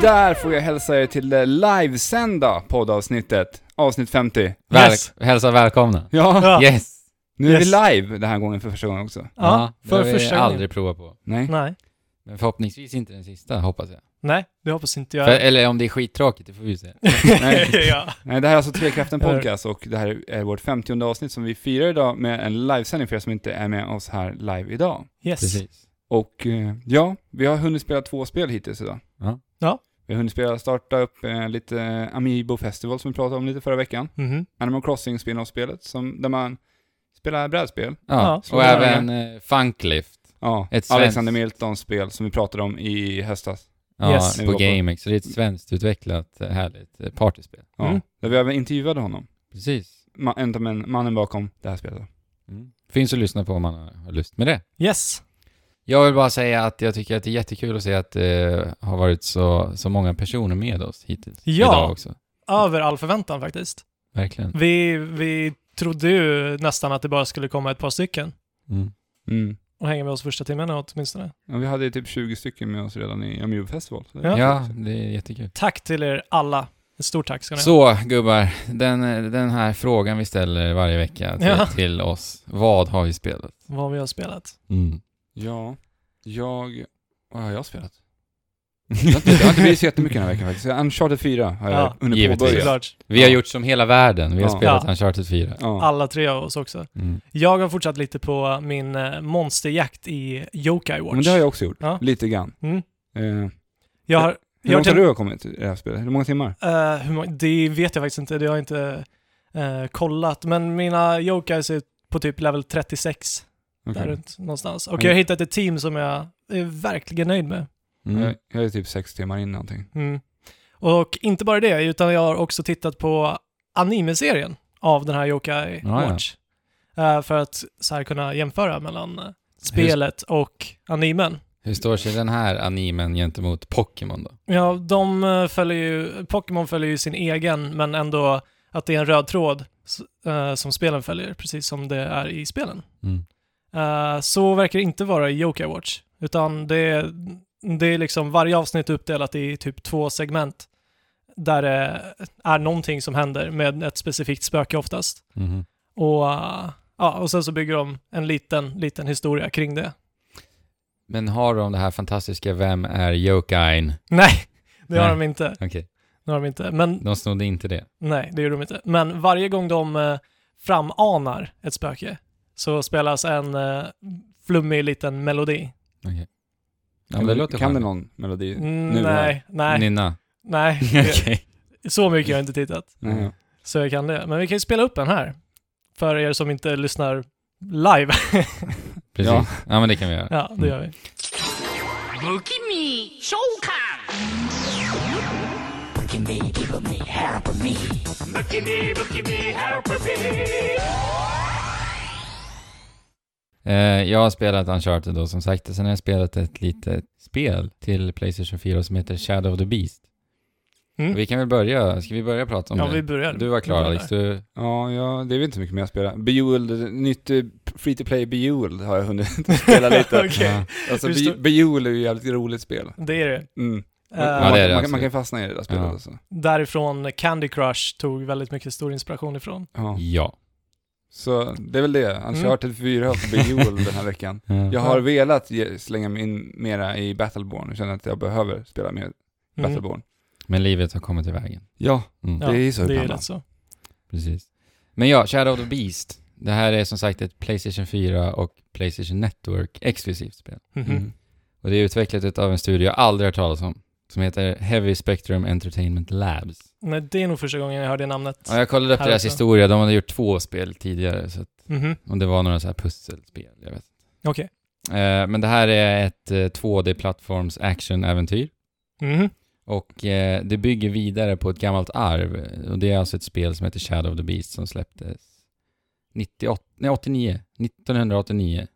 där får jag hälsa er till det livesända poddavsnittet, avsnitt 50. Väl, Yes. Hälsa välkomna. Ja, Ja. Yes! nu är Yes. vi live den här gången för första gången också. Ja, det har för vi första gången. aldrig provat på. Nej. Nej. Men förhoppningsvis inte den sista, hoppas jag. Nej, det hoppas inte jag. För, eller om det är skittråkigt, det får vi se. Nej. ja. Nej, det här är alltså Trekraften Podcast och det här är vårt 50 avsnitt som vi firar idag med en livesändning för er som inte är med oss här live idag. Yes. Precis. Och eh, ja, vi har hunnit spela två spel hittills idag. Ja. Ja. Vi har hunnit spela, starta upp eh, lite Amiibo Festival som vi pratade om lite förra veckan. Mhm. Animal Crossing spin-off-spelet som, där man spelar brädspel. Ja, Ja, så och det är det. även eh, Funklift. Ja, Ett Alexander svenskt- Miltons spel som vi pratade om i höstas. Ja, Yes. på GameX. Så det är ett svenskt utvecklat eh, härligt eh, partyspel. Ja, Mm. Där vi även intervjuade honom. Precis. Ma- en av män- mannen bakom det här spelet. Finns att lyssna på om man har lust med det. Yes. Jag vill bara säga att jag tycker att det är jättekul att se att det har varit så, så många personer med oss hittills. Ja. Idag också. Över all förväntan faktiskt. Verkligen. Vi, vi trodde ju nästan att det bara skulle komma ett par stycken Mm. Mm. och hänga med oss första timmen åtminstone. Ja, vi hade ju typ 20 stycken med oss redan i Amiibo Festival. Så det- Ja. Ja, det är jättekul. Tack till er alla. Ett stort tack ska ni ha. Så gubbar, den, den här frågan vi ställer varje vecka till, Ja. till oss. Vad har vi spelat? Mm. Vad vi har spelat. Mm. ja. Jag... Vad har jag spelat? jag har inte- jag har inte blivit så jättemycket den här veckan faktiskt. Uncharted 4 har jag Ja, under givetvis. påbörjat. Såklart. Vi har Ja. gjort som hela världen. Vi har Ja. spelat Ja. Uncharted 4. Ja. Alla tre av oss också. Mm. Jag har fortsatt lite på min eh, monsterjakt i Yokai Watch. Men det har jag också gjort. Ja. Lite grann. Mm. Eh, hur Jag har... Jag har långt till, har du kommit i det här spelet? Hur många timmar? Eh, hur många, det vet jag faktiskt inte. Det har jag inte eh, kollat. Men mina Yokais är på typ level 36. Mhm. där Okej. runt någonstans. Och Mm. jag har hittat ett team som jag är verkligen nöjd med. Mm. Jag, jag är typ sex timmar in någonting. Mm. Och inte bara det, utan jag har också tittat på animeserien av den här Yokai Ah, ja. Watch. Eh, för att så här kunna jämföra mellan eh, spelet och animen. Hur står sig den här animen gentemot Pokémon då? Ja, de eh, följer ju, Pokémon följer ju sin egen, men ändå att det är en röd tråd s- eh, som spelen följer, precis som det är i spelen. Mm. Eh, så verkar det inte vara i Yokai Watch, utan det är, det är liksom varje avsnitt uppdelat i typ två segment där det är någonting som händer med ett specifikt spöke oftast. Mm-hmm. Och, eh, ja, och sen så bygger de en liten, liten historia kring det. Men har de det här fantastiska Vem är Jokain? Nej, det har Nej. de inte. Okej, Det har de inte. Men de snodde inte det. nej, det gjorde de inte. Men varje gång de eh, framanar ett spöke så spelas en eh, flummig liten melodi. Okej. Ja, Kan, men det låter kan det charmigt. någon melodi? Mm, nu här. nej, nej, Nynna. nej. Det- Okej. Så mycket har jag inte tittat. Nej. Så jag kan det. Men vi kan ju spela upp en här. För er som inte lyssnar live. Precis. Ja. Ja. men det kan vi göra. ja, det gör vi. Mm. 不気味召喚 Eh, jag har spelat Uncharted då som sagt och sen har jag spelat ett litet spel till Playstation 4 som heter Shadow of the Beast. Mm. Vi kan väl börja, ska vi börja prata om Ja, det? vi börjar. Du var klar Vi börjar Alex, du... Ja, ja, det är väl inte så mycket mer att spela. Bejeweled, nytt eh, free to play Bejeweled har jag hunnit spela lite. Okej. Ja. Alltså Hur Be- stor- Bejeweled är ju ett jävligt roligt spel. Det är det. Mm. Eh, man, det är man, det, kan- man kan fastna i det där spelet Ja. alltså. Därifrån Candy Crush tog väldigt mycket stor inspiration ifrån. Ja. ja. Så det är väl det. Mm. Uncharted 4 har fått Bejeweled den här veckan. Eh, Jag har velat ge, slänga mig in mera i Battleborn. Jag känner att jag behöver spela mer Mm. Battleborn. Men livet har kommit i vägen. Ja, Mm. Ja, det är ju så Det är ju ibland. lätt så. Precis. Men ja, Shadow of the Beast. Det här är som sagt ett Playstation 4 och Playstation Network exklusivt spel. Mhm. Mm. Och det är utvecklat av en studio jag aldrig hört talas om. Som heter Heavy Spectrum Entertainment Labs. Nej, det är nog första gången jag hör det namnet. Ja, jag kollade upp Här deras också. historia. De hade gjort två spel tidigare. Så att, Mhm. och det var några så här pusselspel, jag vet. Okej. Eh, men det här är ett eh, 2D-plattforms action-äventyr. Mhm. Och eh, det bygger vidare på ett gammalt arv. Och det är alltså ett spel som heter Shadow of the Beast som släpptes 98, nej, 89, 1989.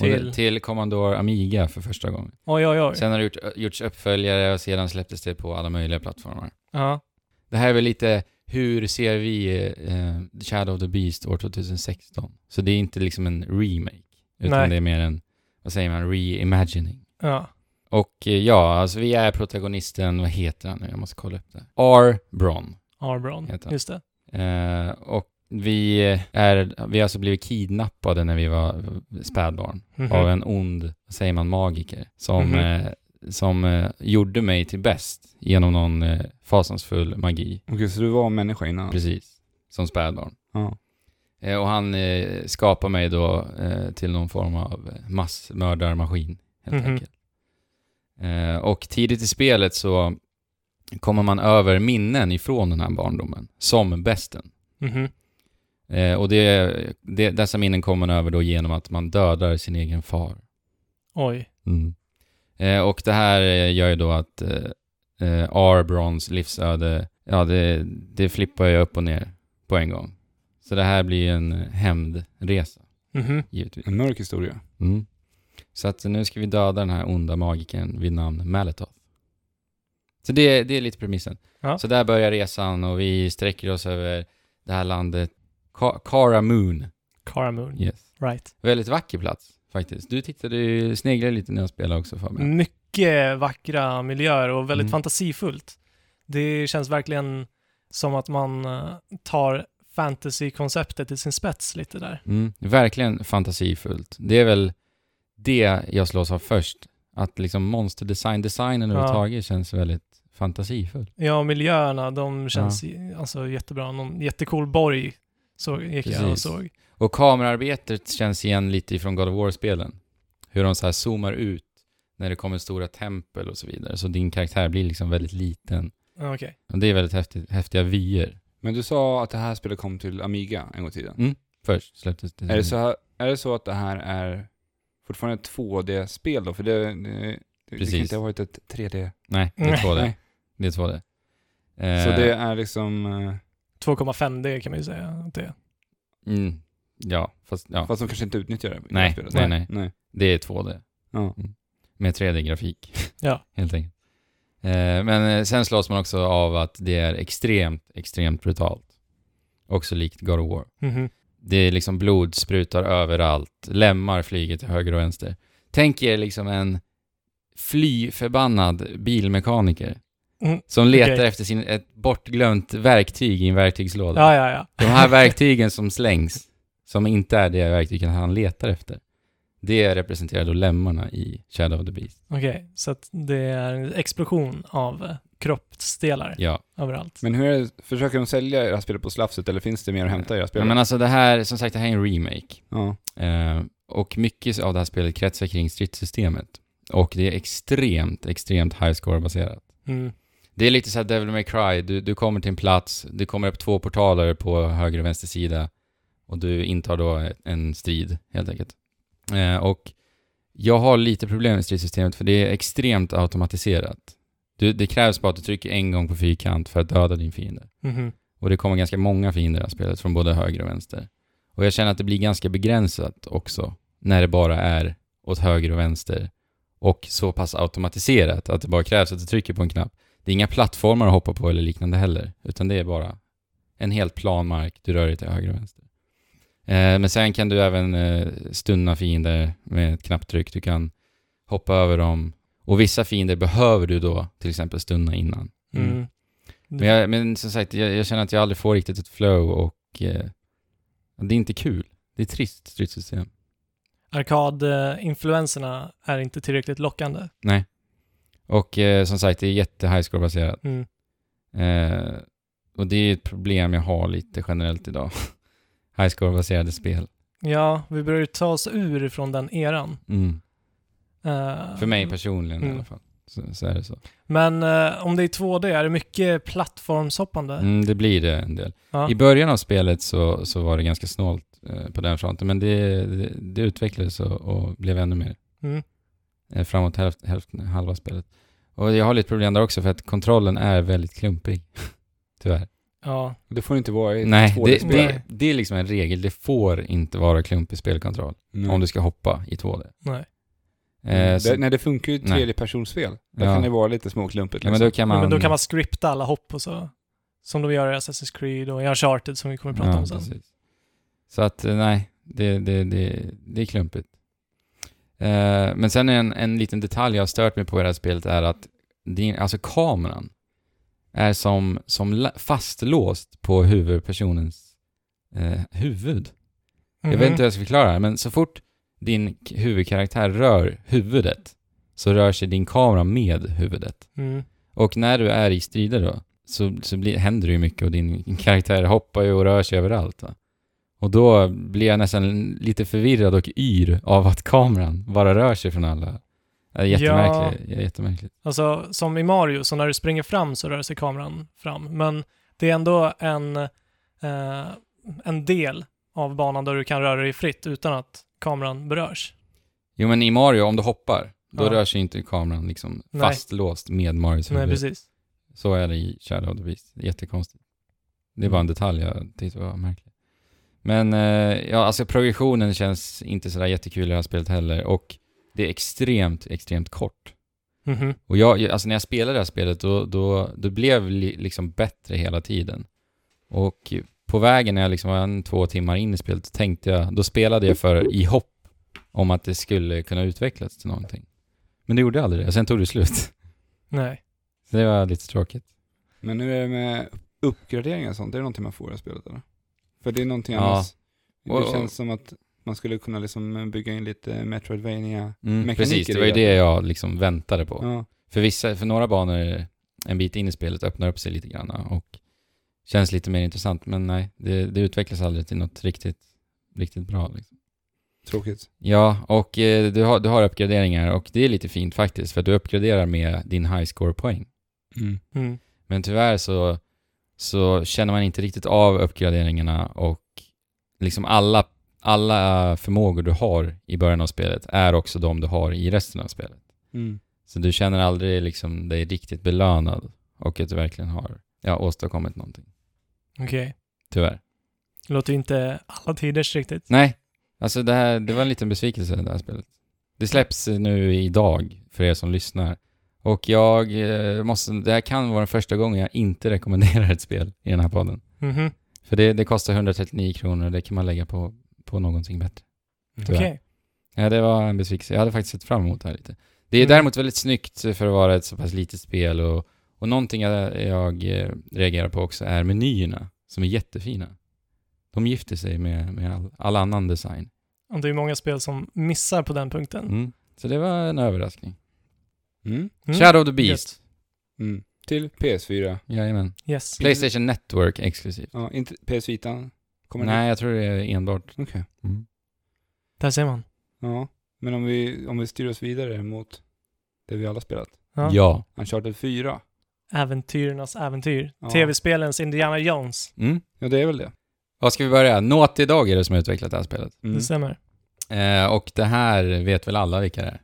Och det- Till? till Commodore Amiga för första gången. Oj, oj, oj. Sen har det gjort, eh, gjorts uppföljare och sedan släpptes det på alla möjliga plattformar. Ja. Det här är väl lite, hur ser vi eh, Shadow of the Beast år 2016? Så det är inte liksom en remake, utan Nej. det är mer en, vad säger man, reimagining. ja. Och eh, ja, alltså vi är protagonisten, vad heter han nu? Jag måste kolla upp det. R. Bron. Arbron. Heter han. Just det. Eh, och vi är, vi har alltså blivit kidnappade när vi var spädbarn Mhm. av en ond, vad säger man, magiker som, Mhm. eh, som eh, gjorde mig till bäst genom någon eh, fasansfull magi. Okej, så du var människa innan? Precis, som spädbarn. Ja. Eh, och han eh, skapar mig då eh, till någon form av eh, massmördarmaskin, helt Mhm. enkelt. Eh, och tidigt i spelet så kommer man över minnen ifrån den här barndomen, som bästen. Mhm. Eh, och det, det, dessa minnen kommer man över då genom att man dödar sin egen far. Oj. Eh, och det här eh, gör ju då att eh, eh, Arbrons livsöde, ja det, det flippar ju upp och ner på en gång. Så det här blir ju en eh, hämndresa, Mhm. givetvis. En mörk historia. Mm. Så att nu ska vi döda den här onda magikern vid namn Maletoth. Så det, det är lite premissen. Ja. Så där börjar resan och vi sträcker oss över det här landet, Ka- Kara Moon. Cara Moon. Yes. Right. Väldigt vacker plats faktiskt. Du tittade ju, sneglade lite när jag spelade också Fabian. Mm. Mycket vackra miljöer och väldigt Mm. fantasifullt. Det känns verkligen som att man eh, tar fantasy-konceptet i sin spets lite där. Mm. Verkligen fantasifullt. Det är väl det jag slås av först. Att liksom monsterdesign, designen Ja. överhuvudtaget känns väldigt fantasifull. Ja, miljöerna, de känns i- alltså jättebra. Någon jättecool borg så gick jag och Precis. såg. Och kamerarbetet känns igen lite ifrån God of War-spelen. Hur de så här zoomar ut när det kommer stora tempel och så vidare. Så din karaktär blir liksom väldigt liten. Okej. Och det är väldigt häftigt, häftiga vyer. Men du sa att det här spelet kom till Amiga en gång i tiden. Först släpptes det. Är, det så här, är det så att det här är fortfarande ett 2D-spel då? För det, det, det, det kan Precis. inte ha varit ett 3D. Nej, det är Nej. 2D. Nej. Det är 2D. Så Eh, det är liksom, eh, 2,5D kan man ju säga att det är. Mm. Ja, fast ja, fast de kanske inte utnyttjar det i Nej, spelet. nej, nej. nej. det är 2D. Ja. Mm. Med 3D-grafik. Ja. Helt enkelt. Eh, men eh, sen slås man också av att det är extremt, extremt brutalt. Också likt God of War. Mhm. Det är liksom blod sprutar överallt, lämmar flyger till höger och vänster. Tänk er liksom en fly förbannad bilmekaniker Mm, som letar okej. efter sin, ett bortglömt verktyg i en verktygslåda. Ja, ja, ja. De här verktygen som slängs, som inte är det verktygen han letar efter, det representerar då lemmarna i Shadow of the Beast. Okej, så att det är en explosion av eh, kroppsdelar Ja. överallt. Men hur är det, försöker de sälja era spel på slafset eller finns det mer att hämta i era spel? Men alltså det här, som sagt, det här är en remake. ja. Eh, och mycket av det här spelet kretsar kring stridssystemet. Och det är extremt, extremt highscore-baserat. Mm. Det är lite så här Devil May Cry, du, du kommer till en plats, det kommer upp två portaler på höger och vänster sida och du intar då en strid helt enkelt. Eh, och jag har lite problem med stridssystemet för det är extremt automatiserat. Du, det krävs bara att du trycker en gång på fyrkant för att döda din fiende. Mhm. Och det kommer ganska många fiender i det här spelet från både höger och vänster. Och jag känner att det blir ganska begränsat också när det bara är åt höger och vänster och så pass automatiserat att det bara krävs att du trycker på en knapp. Det är inga plattformar att hoppa på eller liknande heller, utan det är bara en helt plan mark, du rör dig till höger och vänster. Eh, men sen kan du även eh, stunna fiender med ett knapptryck, du kan hoppa över dem och vissa fiender behöver du då till exempel stunna innan. Mm. Mm. Men, jag, men som sagt, jag, jag känner att jag aldrig får riktigt ett flow och eh, det är inte kul. Det är trist stridssystem. Arkadinfluenserna är inte tillräckligt lockande. Och eh, som sagt, det är jätte highscore-baserat. Mm. Eh, och det är ett problem jag har lite generellt idag. highscore-baserade spel. Ja, vi börjar ju ta oss ur från den eran. Mm. Eh, För mig personligen i Mm. alla fall. Så, så är det så. Men eh, om det är 2D, är det mycket plattformshoppande? Mm, det blir det en del. Ja. I början av spelet så, så var det ganska snålt eh, på den fronten, men det, det, det utvecklades och, och blev ännu mer. Mm. eh, framåt hälft, hälften, halva spelet. Och jag har lite problem där också för att kontrollen är väldigt klumpig. Tyvärr. Ja, Det får inte vara i ett Nej, det, 2D-spel. det, det är liksom en regel. Det får inte vara klumpig spelkontroll Mm. Nej. om du ska hoppa i 2D. nej. Eh, Mm. det, så, nej, det funkar ju i Nej. tredjepersonsspel. Där Ja. kan det vara lite småklumpigt. liksom. ja, men då kan man... Men, då kan man skripta alla hopp och så. Som de gör i Assassin's Creed och i Uncharted som vi kommer att prata om sen. precis. Så att eh, nej, det, det, det, det är klumpigt. Eh, men sen en, en liten detalj jag har stört mig på i det här spelet är att din, alltså kameran är som, som la- fastlåst på huvudpersonens eh, huvud. Mhm, Jag vet inte hur jag ska förklara det här, men så fort din k- huvudkaraktär rör huvudet så rör sig din kamera med huvudet. Mm. Och när du är i strider då, så, så blir, händer det ju mycket och din karaktär hoppar ju och rör sig överallt. Va? Och då blir jag nästan lite förvirrad och yr av att kameran bara rör sig från alla. Det är jättemärkligt. Ja. jättemärkligt. Alltså som i Mario, så när du springer fram så rör sig kameran fram. Men det är ändå en, eh, en del av banan där du kan röra dig fritt utan att kameran berörs. Jo men i Mario, om du hoppar, då Ja. rör sig inte kameran liksom Nej. fastlåst med Marios Nej, huvud. precis. Så är det i Shadow of the Beast. Jättekonstigt. Det var en detalj jag tyckte var märklig. Men eh, ja, alltså progressionen känns inte sådär jättekul i det här spelet heller och det är extremt, extremt kort. Mhm. Och jag, jag- alltså när jag spelade det här spelet då, då, då blev li, liksom bättre hela tiden. Och på vägen när jag liksom var en, två timmar in i spelet så tänkte jag, då spelade jag för i hopp om att det skulle kunna utvecklas till någonting. Men det gjorde aldrig det, sen tog det slut. Nej. Så det var lite tråkigt. Men hur är det med uppgraderingar och sånt? Är det någonting man får i det här spelet eller? För det är någonting Ja. annars. Och- Det och- känns som att man skulle kunna liksom bygga in lite Metroidvania. Mm, Mekaniker precis, det i var ju det. det jag liksom väntade på. Ja. För, vissa, för några banor en bit in i spelet öppnar upp sig lite grann och känns lite mer intressant. Men nej, det, det utvecklas aldrig till något riktigt, riktigt bra. Liksom. Tråkigt. Ja, och eh, du har, du har uppgraderingar och det är lite fint faktiskt för att du uppgraderar med din high score-poäng. Mm. Men tyvärr så, så känner man inte riktigt av uppgraderingarna och liksom alla, alla förmågor du har i början av spelet är också de du har i resten av spelet. Mm. Så du känner aldrig liksom dig riktigt belönad och att du verkligen har ja, åstadkommit någonting. Okej. Tyvärr. Det låter ju inte alla tiders riktigt. Nej, alltså det, här, det var en liten besvikelse det här spelet. Det släpps nu idag för er som lyssnar. Och jag eh, måste, det här kan vara den första gången jag inte rekommenderar ett spel i den här podden. Mhm. För det, det kostar 139 kronor och det kan man lägga på, på någonting bättre. Okej. Tyvärr. Ja, det var en besvikelse. Jag hade faktiskt sett fram emot det här lite. Det är Mm. däremot väldigt snyggt för att vara ett så pass litet spel och, och någonting jag, jag eh, reagerar på också är menyerna som är jättefina. De gifter sig med, med all, all annan design. Och det är många spel som missar på den punkten. Mm. Så det var en överraskning. Mm. Mm. Shadow of the Beast. Mm. Till PS4. Jajamän. Yes. Playstation Network exklusivt. Ja, inte PS Vita. Kommer det? Nej, jag tror det är enbart. Okej. Där ser man. Ja. Men om vi, om vi styr oss vidare mot det vi alla spelat. Ja. Ja. Uncharted 4. Äventyrernas äventyr. Ja. Tv-spelens Indiana Jones. Mm. Ja, det är väl det. Vad ska vi börja? Naughty Dog är det som har utvecklat det här spelet. Mm. Det stämmer. Eh, och det här vet väl alla vilka det är?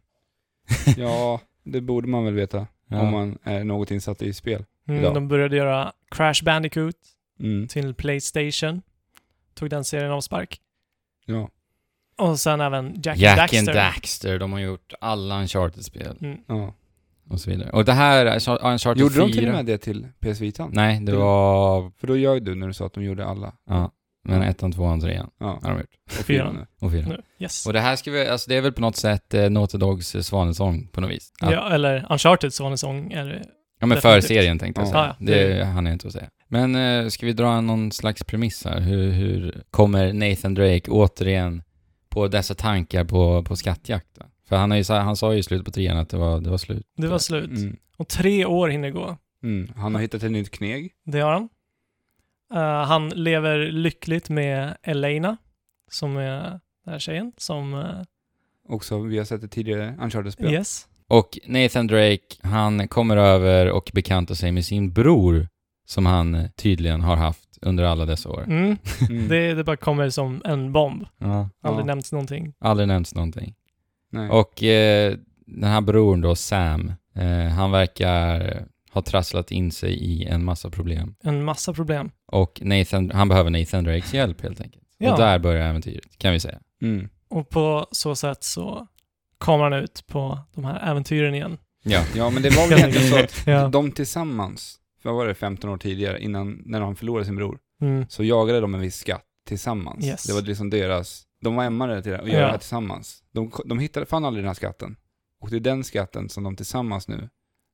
Ja, det borde man väl veta om man är något insatt i spel. Ja. Mm, de började göra Crash Bandicoot Mm. till Playstation. Tog den serien avspark. Ja. Och sen även Jack, Jack Daxter. and Daxter, de har gjort alla Uncharted-spel Mm. ja. och så vidare. Och det här, Unch- Uncharted Gjorde 4... de till och med det till PS Vita? Nej, det Det- Mm. var... För då ljög du när du sa att de gjorde alla. Ja, men ettan, tvåan, trean Ja, har de gjort. och fyran. fyran. Och fyran. Nu. Yes. Och det här ska vi, alltså det är väl på något sätt eh, Naughty Dogs eh, svanesång på något vis. Att, ja. Ja, eller Uncharted Svanesång är det. men för definitivt. serien tänkte jag Ja. säga. Ja, ja. Det hann jag inte att säga. Men eh, ska vi dra någon slags premiss här? Hur, hur kommer Nathan Drake återigen på dessa tankar på, på skattjakt? va? För han, har ju, sa- han sa ju i slutet på trean att det var, det var slut. Det var slut. Mm. Och tre år hinner gå. Mm. Han har hittat ett nytt kneg. Det har han. Eh, han lever lyckligt med Elena, som är den här tjejen som... eh, Också, vi har sett det tidigare, Uncharted-spel. yes. Och Nathan Drake, han kommer över och bekantar sig med sin bror som han tydligen har haft under alla dessa år. Mm. Mm. Det, det bara kommer som en bomb. Ja. Aldrig Ja. nämnts någonting. Aldrig nämns någonting. Nej. Och eh, den här brorn då, Sam, eh, han verkar ha trasslat in sig i en massa problem. En massa problem. Och Nathan, han behöver Nathan Drakes hjälp helt enkelt. Ja. Och där börjar äventyret, kan vi säga. Mm. Och på så sätt så kommer han ut på de här äventyren igen. Ja. Ja, men det var väl egentligen så att Ja. de tillsammans, för vad var det, 15 år tidigare, innan, när han förlorade sin bror, Mm. så jagade de en viss skatt tillsammans. Yes. Det var liksom deras De var ämmade till det och Ja. göra det här tillsammans. De, ko- de hittade, fann aldrig den här skatten. Och det är den skatten som de tillsammans nu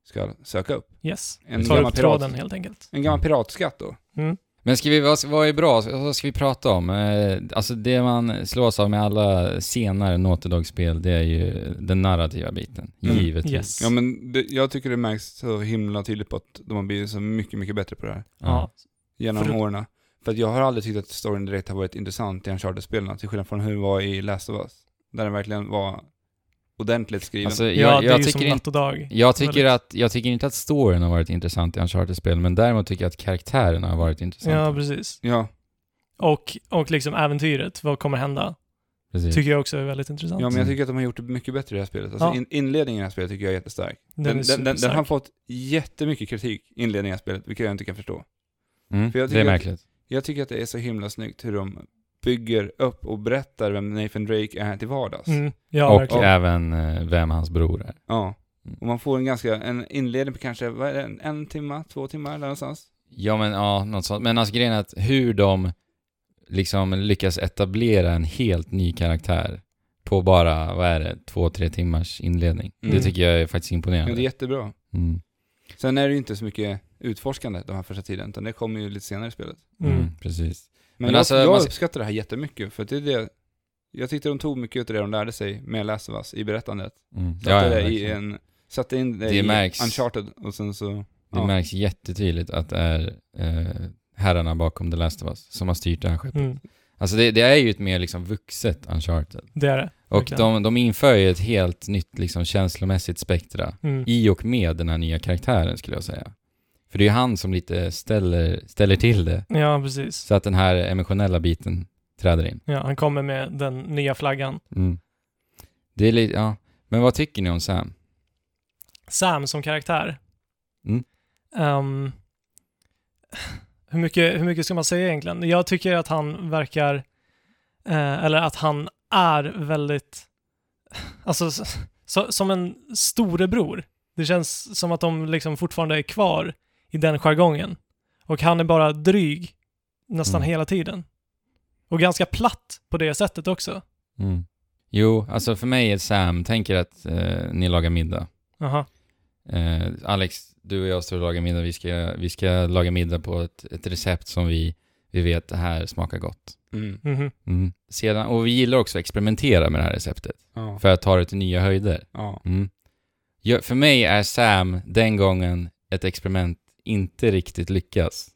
ska söka upp. Yes. En Tar gammal upp tråden pirat. helt enkelt. En gammal piratskatt då. Mm. Men ska vi, vad, vad är bra? Vad ska vi prata om? Eh, Alltså det man slås av med alla senare Naughty Dog-spel, det är ju den narrativa biten. Mm. Givetvis. Yes. Ja men det, jag tycker det märks så himla tydligt på att de har blivit så mycket, mycket bättre på det här. Ja. Genom Förut- åren. För att jag har aldrig tyckt att storyn direkt har varit intressant i Uncharted-spelen, till skillnad från hur det var i Last of Us. Där den verkligen var ordentligt skriven. Alltså, Ja, jag, det jag är ju tycker som inte natt och dag. Jag tycker, Väldigt. att, jag tycker inte att storyn har varit intressant i Uncharted-spel, men däremot tycker jag att karaktärerna har varit intressanta. Ja, precis. ja, Och, och liksom äventyret, vad kommer hända? Precis. Tycker jag också är väldigt intressant. ja, men jag Mm. tycker att de har gjort det mycket bättre i det här spelet. Alltså Ja. in, inledningen i det här spelet tycker jag är jättestark. den, Den, är den, den, den superstark. har fått jättemycket kritik, inledningen i spelet, vilket jag inte kan förstå. mm. för jag det tycker är att- märkligt. Jag tycker att det är så himla snyggt hur de bygger upp och berättar vem Nathan Drake är till vardags. Mm. Ja, och verkligen. även eh, vem hans bror är. Ja. Mm. Och man får en ganska, en inledning på kanske, vad är det, en, en timma, två timmar eller någonstans? Ja, men ja, något sånt. Men alltså grejen är att hur de liksom lyckas etablera en helt ny karaktär på bara, vad är det, två, tre timmars inledning. Mm. Det tycker jag är faktiskt Men det är imponerande. jättebra. Mm. Sen är det ju inte så mycket utforskande den här första tiden, utan det kommer ju lite senare i spelet. Mm. Mm. Precis. Men, Men jag, alltså, man jag ska- uppskattar det här jättemycket, för att det är det, jag tyckte de tog mycket av det de lärde sig med Last of Us i berättandet. Mm. Satte det i verkligen. en, satte in det, Det i märks. Uncharted och sen så, Det ja. märks jättetydligt att det är eh, herrarna bakom The Last of Us som har styrt det här skeppet. Mm. Alltså det, det är ju ett mer liksom vuxet Uncharted. Det är det. Och Verkligen. de, de inför ju ett helt nytt liksom känslomässigt spektra Mm. i och med den här nya karaktären skulle jag säga. För det är ju han som lite ställer, ställer till det Ja, precis. så att den här emotionella biten träder in. Ja, han kommer med den nya flaggan. Mm. Det är lite, ja. Men vad tycker ni om Sam? Sam som karaktär. Mm. Ehm, hur, mycket, hur mycket ska man säga egentligen? Jag tycker att han verkar, eh, eller att han är väldigt, alltså s- så, som en storebror. Det känns som att de liksom fortfarande är kvar i den jargongen. Och han är bara dryg nästan Mm. hela tiden. Och ganska platt på det sättet också. Mm. Jo, alltså för mig är Sam, tänker att eh, ni lagar middag. Aha. Eh, Alex, du och jag står och lagar middag. Vi ska, vi ska laga middag på ett, ett recept som vi, vi vet det här smakar gott. Mm, Mhm. Mm. Sedan, och vi gillar också att experimentera med det här receptet ja, för att ta det till nya höjder. ja, Mm. Ja, för mig är Sam den gången ett experiment inte riktigt lyckas.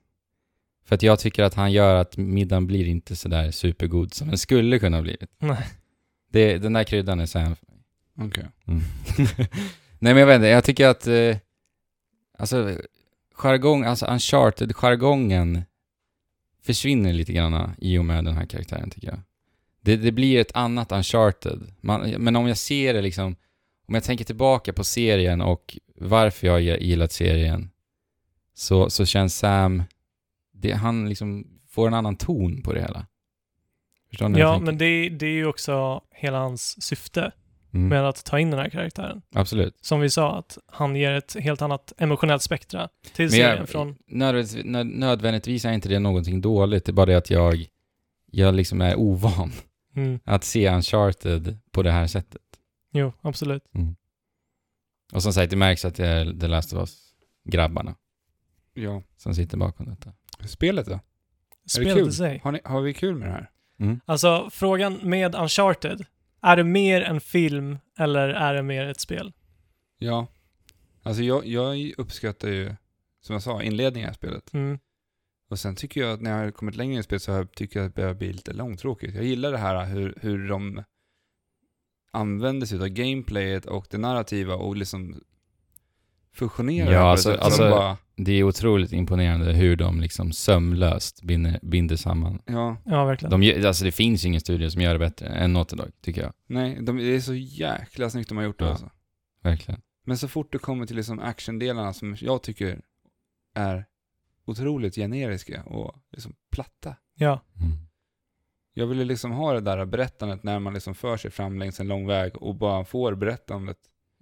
För att jag tycker att han gör att middagen blir inte sådär supergod som den skulle kunna ha blivit. Nej. Det, den där kryddan är Sam okej. Nej men jag vet inte, jag tycker att eh, alltså jargong, alltså uncharted-jargongen försvinner lite grann i och med den här karaktären tycker jag. Det, det blir ett annat uncharted. Man, men om jag ser det liksom, om jag tänker tillbaka på serien och varför jag har gillat serien så, så känns Sam, det, han liksom får en annan ton på det hela. Förstår ni? vad jag Ja, tänker? men det, det är ju också hela hans syfte Mm, med att ta in den här karaktären. absolut. Som vi sa, att han ger ett helt annat emotionellt spektra till Men jag- serien från... nödvändigtvis, nö- nödvändigtvis är inte det någonting dåligt, det är bara det att jag, jag liksom är ovan Mm, att se Uncharted på det här sättet. jo, absolut. Och som sagt, det märks att det är The Last of Us-grabbarna Ja. som sitter bakom detta. Spelet då? Spelet kul? i sig. Har, ni, har vi kul med det här? Alltså, frågan med Uncharted, är det mer en film eller är det mer ett spel? Ja. Alltså jag, jag uppskattar ju, som jag sa, inledningen i det här spelet. Mm, Och sen tycker jag att när jag har kommit längre i spelet så har jag, tycker jag att det börjar bli lite långtråkigt. Jag gillar det här hur, hur de använder sig av gameplayet och det narrativa och liksom fusionerar det Ja, på det alltså- sättet. alltså- Så de bara, Det är otroligt imponerande hur de liksom sömlöst binder, binder samman. ja, ja, verkligen. De, gör- alltså det finns ju ingen studio som gör det bättre än Naughty Dog, tycker jag. nej, de, det är så jäkla snyggt de har gjort det Ja. alltså. Verkligen. Men så fort det kommer till liksom actiondelarna som jag tycker är otroligt generiska och liksom platta. Ja, Jag ville liksom ha det där berättandet när man liksom för sig fram längs en lång väg och bara får berättandet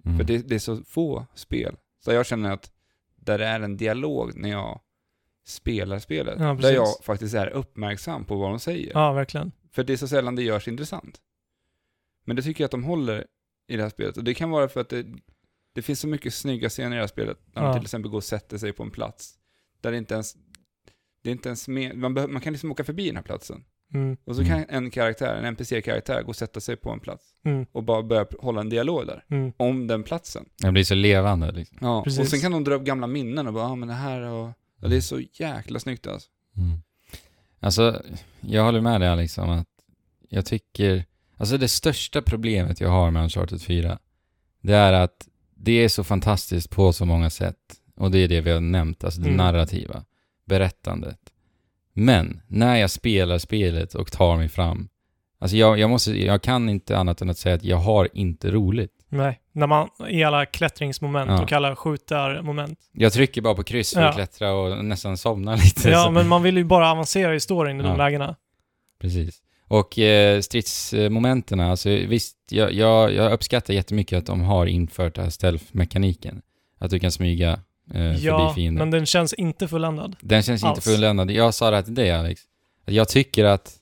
Mm. För det, det är så få spel. Så jag känner att där det är en dialog när jag spelar spelet, Ja, där precis. jag faktiskt är uppmärksam på vad de säger. ja verkligen. För det är så sällan det görs intressant. Men det tycker jag att de håller i det här spelet. Och det kan vara för att det, det finns så mycket snygga scener i det här spelet. När de Ja. till exempel går och sätter sig på en plats. Där det inte ens, det är inte ens med, man, behö- man kan liksom åka förbi den här platsen. Mm. Och så kan Mm. en karaktär, en NPC-karaktär, gå och sätta sig på en plats. Mm. Och bara börja pr- hålla en dialog där. Mm. Om den platsen. Den blir så levande liksom. Ja, och Precis. sen kan de dra upp gamla minnen och bara, ja ah, men det här och... Ja, det är så jäkla snyggt alltså. Mm. Alltså, jag håller med dig Alex om att jag tycker, alltså det största problemet jag har med Uncharted 4, det är att det är så fantastiskt på så många sätt. Och det är det vi har nämnt, alltså det Mm. narrativa, berättandet. Men när jag spelar spelet och tar mig fram, alltså jag, jag, måste, jag kan inte annat än att säga att jag har inte roligt. Nej, när man i alla klättringsmoment Ja. och alla skjutarmoment. Jag trycker bara på kryss för att Ja. klättra och nästan somnar lite. Ja, så. men man vill ju bara avancera i storyn i Ja. de lägena. Precis. Och eh, stridsmomenten, alltså visst, jag, jag, jag uppskattar jättemycket att de har infört den här stealth-mekaniken. Att du kan smyga eh, ja, förbi fienden. men den känns inte fulländad. Den känns inte Alls. fulländad. Jag sa det här till dig Alex. Att Jag tycker att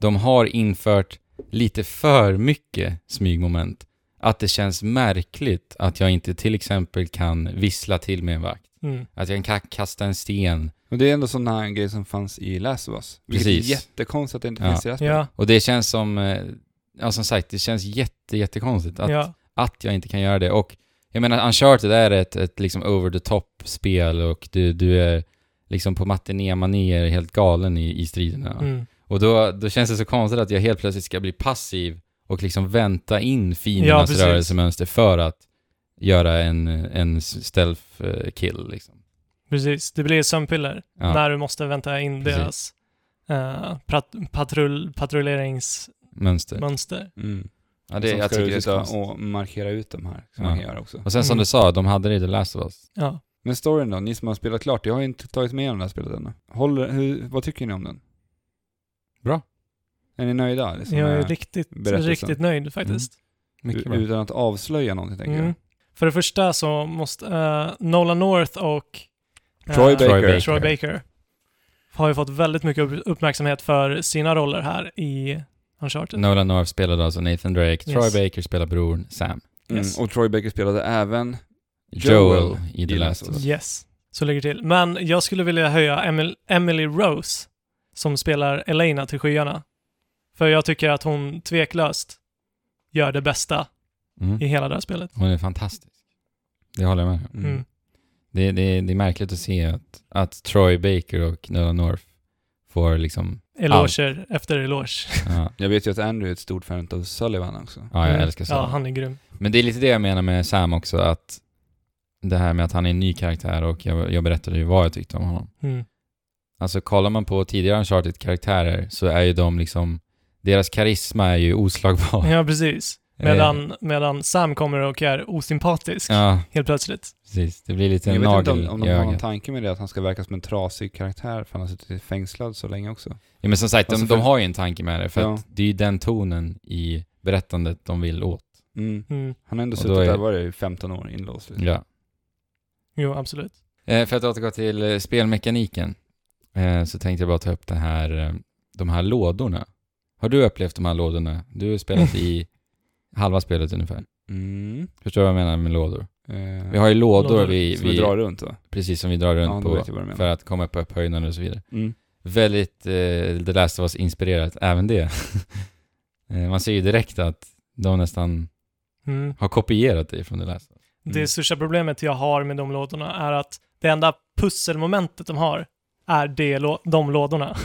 de har infört lite för mycket smygmoment. Att det känns märkligt att jag inte till exempel kan vissla till med en vakt. Mm. Att jag kan ka- kasta en sten. Och det är ändå sådana grejer som fanns i Last of Us. Vilket Precis. är jättekonstigt att det inte Ja. finns i det här spelet. Ja, Och det känns som, eh, ja som sagt, det känns jätte, jättekonstigt att ja, att jag inte kan göra det. Och jag menar, Uncharted är ett, ett liksom over the top-spel och du, du är liksom på matinémanér helt galen i, i striderna. mm. Och då, då känns det så konstigt att jag helt plötsligt ska bli passiv och liksom vänta in Ja, fiendernas precis. rörelsemönster för att göra en, en stealth eh, kill liksom. precis. Det blir sömnpiller Ja, när du måste vänta in Precis. deras eh, pat- patrull- patrulleringsmönster. mönster. Mm. Ja, Och det, sen jag ska tycker du det är så sitta konstigt. och markera ut de här, som Ja. man kan göra också. Och sen som Mm. du sa, de hade det i The Last of Us. Ja. Men storyn då, ni som har spelat klart, jag har inte tagit med den här spelet ännu. Håller, hur, vad tycker ni om den? Bra. Är ni nöjda? Liksom, Jag är med- riktigt, berättelsen. riktigt nöjd faktiskt. Mycket u- bra. utan att avslöja någonting tänker Mm. För det första så måste eh, Nolan North och eh, jag. Troy Troy Baker. Baker. Troy Baker har ju fått väldigt mycket upp- uppmärksamhet för sina roller här i Uncharted. Nolan North spelade alltså Nathan Drake, Troy Yes. Baker spelar bror Sam. Mm. Yes. Och Troy Baker spelade även Joel, Joel i The Last of Us. Yes, så ligger det till. Men jag skulle vilja höja Emil- Emily Rose som spelar Elena till skyarna. För jag tycker att hon tveklöst gör det bästa Mm. i hela det här spelet. Hon är fantastisk. Det håller jag med om. Mm. Mm. Det, det, det är märkligt att se att, att Troy Baker och Nolan North får liksom... Eloger efter eloge. Ja, Jag vet ju att Andrew är ett stort fan av Sullivan också. ja jag Mm. älskar så. Ja, han är grym. Men det är lite det jag menar med Sam också, att det här med att han är en ny karaktär och jag, jag berättade ju vad jag tyckte om honom. Mm. Alltså kollar man på tidigare Uncharted-karaktärer så är ju de liksom... Deras karisma är ju oslagbar. Ja, precis. Medan, medan Sam kommer och är osympatisk Ja, helt plötsligt. precis. Det blir lite Jag en vet inte nagel om, om de i har en ögat. tanke med det, att han ska verka som en trasig karaktär, för han har suttit fängslad så länge också. Ja, men som sagt, de, Alltså, för- de har ju en tanke med det, för Ja. att det är ju den tonen i berättandet de vill åt. Mm. Mm. Han har ändå Och då suttit är- där, var det i 15 år inlåst. Liksom. Ja. Jo, absolut. Eh, för att återgå till eh, spelmekaniken, eh, så tänkte jag bara ta upp det här, eh, de här lådorna. Har du upplevt de här lådorna? Du har spelat i halva spelet ungefär. Mm. Förstår du vad jag menar med lådor? Eh, Vi har ju lådor, Lådor vi, som vi vi, drar runt va? precis som vi drar runt Ja, då på vet jag vad du menar. för att komma upp på upphöjden och så vidare. Mm. Väldigt eh, The Last of Us-inspirerat, även det. eh, man ser ju direkt att de nästan Mm. har kopierat det från The Last of Us. Mm. Det största problemet jag har med de lådorna är att det enda pusselmomentet de har är de, lå- de lådorna.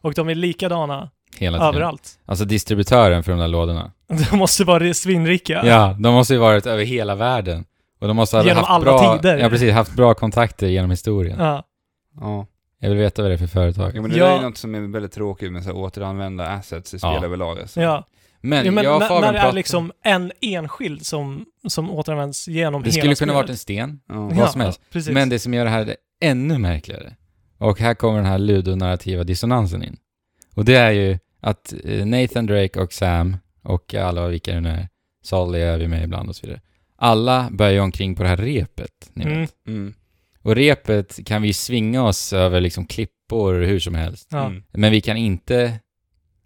Och de är likadana Hela tiden. överallt. Alltså distributören för de där lådorna. De måste vara svinrika. Ja, de måste ju varit över hela världen. Och de måste ha Genom haft alla bra, tider. Ja, precis. Haft bra kontakter genom historien. Ja. Ja. Jag vill veta vad det är för företag. ja, men det Ja. där är ju något som är väldigt tråkigt med så här, återanvända assets i spel Ja. överlag. Alltså. ja. Men, ja men jag och när, Fabian när det är pratade- liksom en enskild som, som återanvänds genom Det hela skulle kunna spelet. varit en sten, Ja. vad som helst. Precis. men det som gör det här ännu märkligare, och här kommer den här ludonarrativa dissonansen in. Och det är ju att eh, Nathan Drake och Sam, och alla vilka det nu är, Sally är vi med ibland och så vidare. Alla bär ju omkring på det här repet, ni vet. Mm. Mm. Och repet kan vi svinga oss över liksom klippor hur som helst. Ja. Mm. Men vi kan inte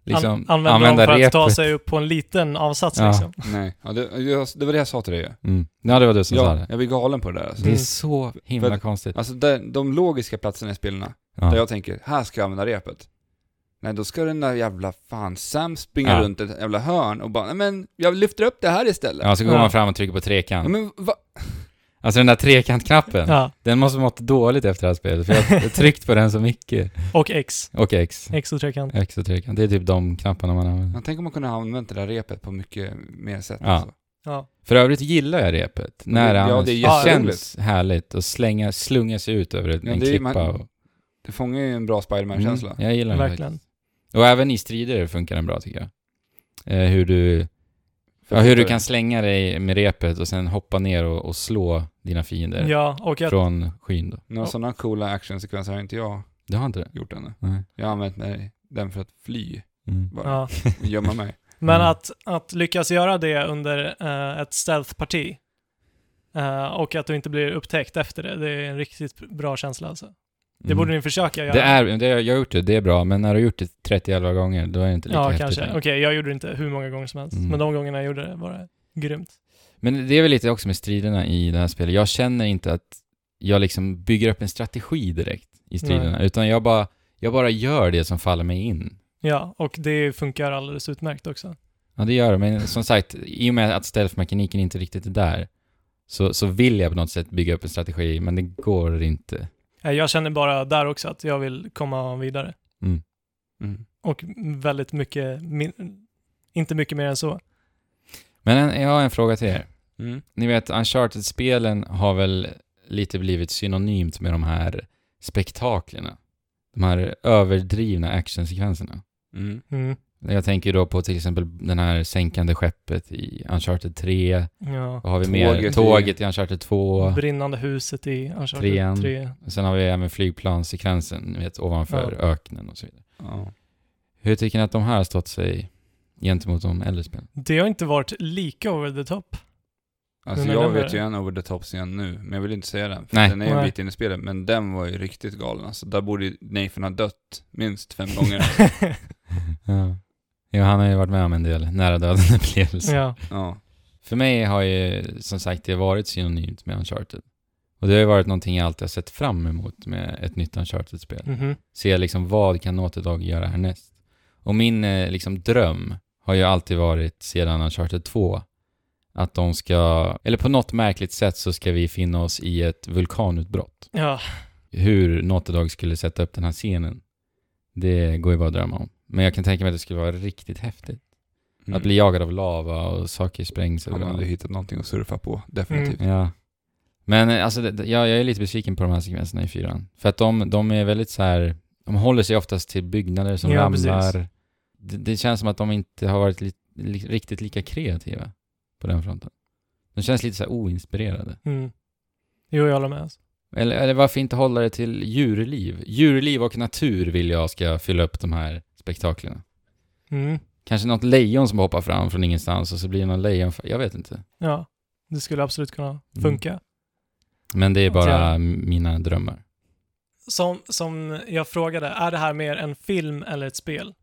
liksom, An- använder dem använda för repet. att ta sig upp på en liten avsats Ja. liksom. Nej, ja, det, jag, det var det jag sa till dig ju. Mm. Ja, det var du som sa Ja, det. jag blir galen på det där alltså. Det är Mm. så himla För- konstigt. Alltså där, de logiska platserna i spelen, Ja. där jag tänker, här ska jag använda repet. Nej, då ska den där jävla fan Sam springa Ja. runt ett jävla hörn och bara, nej men jag lyfter upp det här istället. ja, så går Ja. man fram och trycker på Ja, trekant. men va? Alltså den där trekantknappen, Ja. den måste mått dåligt efter det här spelet, för jag har tryckt på den så mycket. Och X. Och X. X och trekant. X och trekant. Det är typ de knapparna man använder. Man tänker om man kunde ha använt det där repet på mycket mer sätt. Ja. Alltså. Ja. För övrigt gillar jag repet. det- När ja, han det är känns härligt att slänga, slunga sig ut över en Ja, det är- klippa. man- och, Det fångar ju en bra Spiderman-känsla. Mm, jag gillar den Verkligen. faktiskt. Och även i strider funkar den bra tycker jag. Eh, hur du, ja, hur du kan slänga dig med repet och sen hoppa ner och, och slå dina fiender Ja, och jag, från skyn då. Några sådana coola actionsekvenser har inte jag Du har inte det? gjort ännu. Nej. Jag har använt mig den för att fly Mm. bara, ja. och gömma mig. Men Mm. att, att lyckas göra det under eh, ett stealth-parti eh, och att du inte blir upptäckt efter det, det är en riktigt bra känsla alltså. Det borde ni försöka göra. Mm. Det är, det, jag har gjort det, det är bra, men när du har gjort det 30-11 gånger, då är det inte lika Ja, häftigt kanske. längre. Okej, jag gjorde det inte hur många gånger som helst, Mm. men de gångerna jag gjorde det var det grymt. Men det är väl lite också med striderna i det här spelet. Jag känner inte att jag liksom bygger upp en strategi direkt i striderna, utan jag bara, jag bara gör det som faller mig in. Ja, och det funkar alldeles utmärkt också. Ja, det gör det, men som sagt, i och med att stealth-mekaniken inte riktigt är där, så, så vill jag på något sätt bygga upp en strategi, men det går inte. Eh, Jag känner bara där också att jag vill komma vidare. Mm. Och väldigt mycket, min, inte mycket mer än så. Men en, jag har en fråga till er. Mm. Ni vet, Uncharted-spelen har väl lite blivit synonymt med de här spektaklerna. De här överdrivna actionsekvenserna. Mm. Mm. Jag tänker då på till exempel den här sänkande skeppet i Uncharted 3. Ja. Vad har vi mer? Tåget i- Tåget i Uncharted 2. Brinnande huset i Trean. Uncharted 3. Sen har vi även flygplanssekvensen, ni vet, ovanför Ja. öknen och så vidare. Ja. Hur tycker ni att de här har stått sig gentemot de äldre spelen? Det har inte varit lika over the top. Alltså Men jag den där- vet ju en over the top-scen nu, men jag vill inte säga den. För Nej. Den är ju en Nej. bit in i spelet, men den var ju riktigt galen. Alltså där borde ju Nathan ha dött minst fem gånger. Ja. Jo, han har ju varit med om en del nära döden upplevelser. ja. ja. För mig har ju som sagt det varit synonymt med Uncharted. Och det har ju varit någonting jag alltid har sett fram emot med ett nytt Uncharted-spel. Mhm. Se liksom vad kan Naughty-Dog göra härnäst? Och min eh, liksom dröm har ju alltid varit sedan Uncharted 2 att de ska, eller på något märkligt sätt så ska vi finna oss i ett vulkanutbrott. ja. Hur Naughty-Dog skulle sätta upp den här scenen, det går ju bara att drömma om. Men jag kan tänka mig att det skulle vara riktigt häftigt. Mm. Att bli jagad av lava och saker sprängs Han hade hittat någonting att surfa på, Mm. definitivt. Ja. Men eh, alltså, det- det- jag, jag är lite besviken på de här sekvenserna i fyran. För att de, de är väldigt så här, de håller sig oftast till byggnader som Ja, ramlar. precis. Det, det känns som att de inte har varit li, li, riktigt lika kreativa på den fronten. De känns lite så här oinspirerade. Mm. Jo, jag håller med. alltså. Eller, eller varför inte hålla det till djurliv? Djurliv och natur vill jag ska fylla upp de här spektaklerna. Mm. Kanske något lejon som hoppar fram från ingenstans och så blir det någon lejon... Jag vet inte. Ja. Det skulle absolut kunna funka. Men det är bara Ja. m- mina drömmar. Som, som jag frågade, är det här mer en film eller ett spel?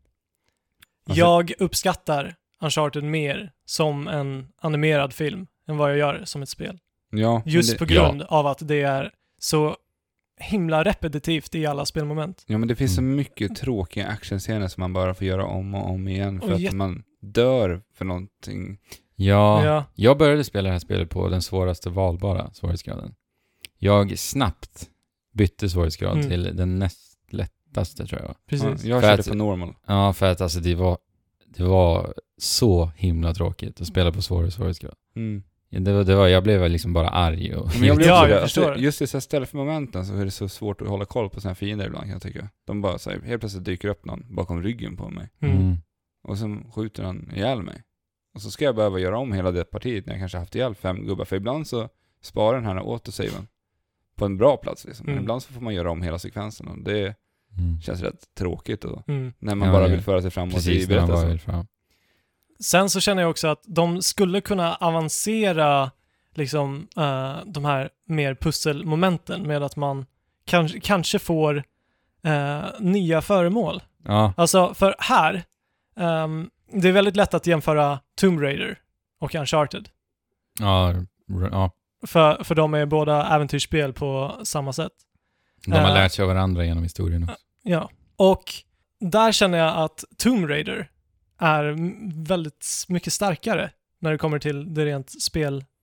Alltså- Jag uppskattar Uncharted mer som en animerad film än vad jag gör som ett spel. Ja, men Just det, på grund av att det är så himla repetitivt i alla spelmoment. ja, men det finns så Mm. mycket tråkiga actionscener som man bara får göra om och om igen för Och att jätte- man dör för någonting. Ja. Jag började spela det här spelet på den svåraste valbara svårighetsgraden. Jag snabbt bytte svårighetsgrad Mm. till den näst lättaste tror jag. Precis. Ja, jag För körde att- på normal. Ja, för att alltså det var, det var så himla tråkigt att spela på svårare svårighetsgrad. Mm. Ja, Det var, det var, jag blev liksom bara arg och... Men jag blir Ja, också jag det. Alltså, förstår. Just i så här stealth-momenten så är det så svårt att hålla koll på sina fiender ibland kan jag tycka. De bara säger helt plötsligt dyker upp någon bakom ryggen på mig. Mm. Mm. Och sen skjuter han ihjäl mig. Och så ska jag behöva göra om hela det partiet när jag kanske haft ihjäl fem gubbar. För ibland så sparar den här autosaven på en bra plats liksom. Men Mm. ibland så får man göra om hela sekvensen och det Mm. känns rätt tråkigt då. Mm. När man Ja, bara ja. vill föra sig framåt i Precis, när man bara berättelsen. vill fram. Sen så känner jag också att de skulle kunna avancera liksom eh, de här mer pusselmomenten med att man kanske, kanske får eh, nya föremål. Ja, Alltså, för här, Ehm, det är väldigt lätt att jämföra Tomb Raider och Uncharted. Ja, r- ja. För, för de är båda äventyrsspel på samma sätt. De har Eh. Äh. lärt sig av varandra genom historien också. Ja. Och där känner jag att Tomb Raider är m- väldigt mycket starkare när det kommer till det rent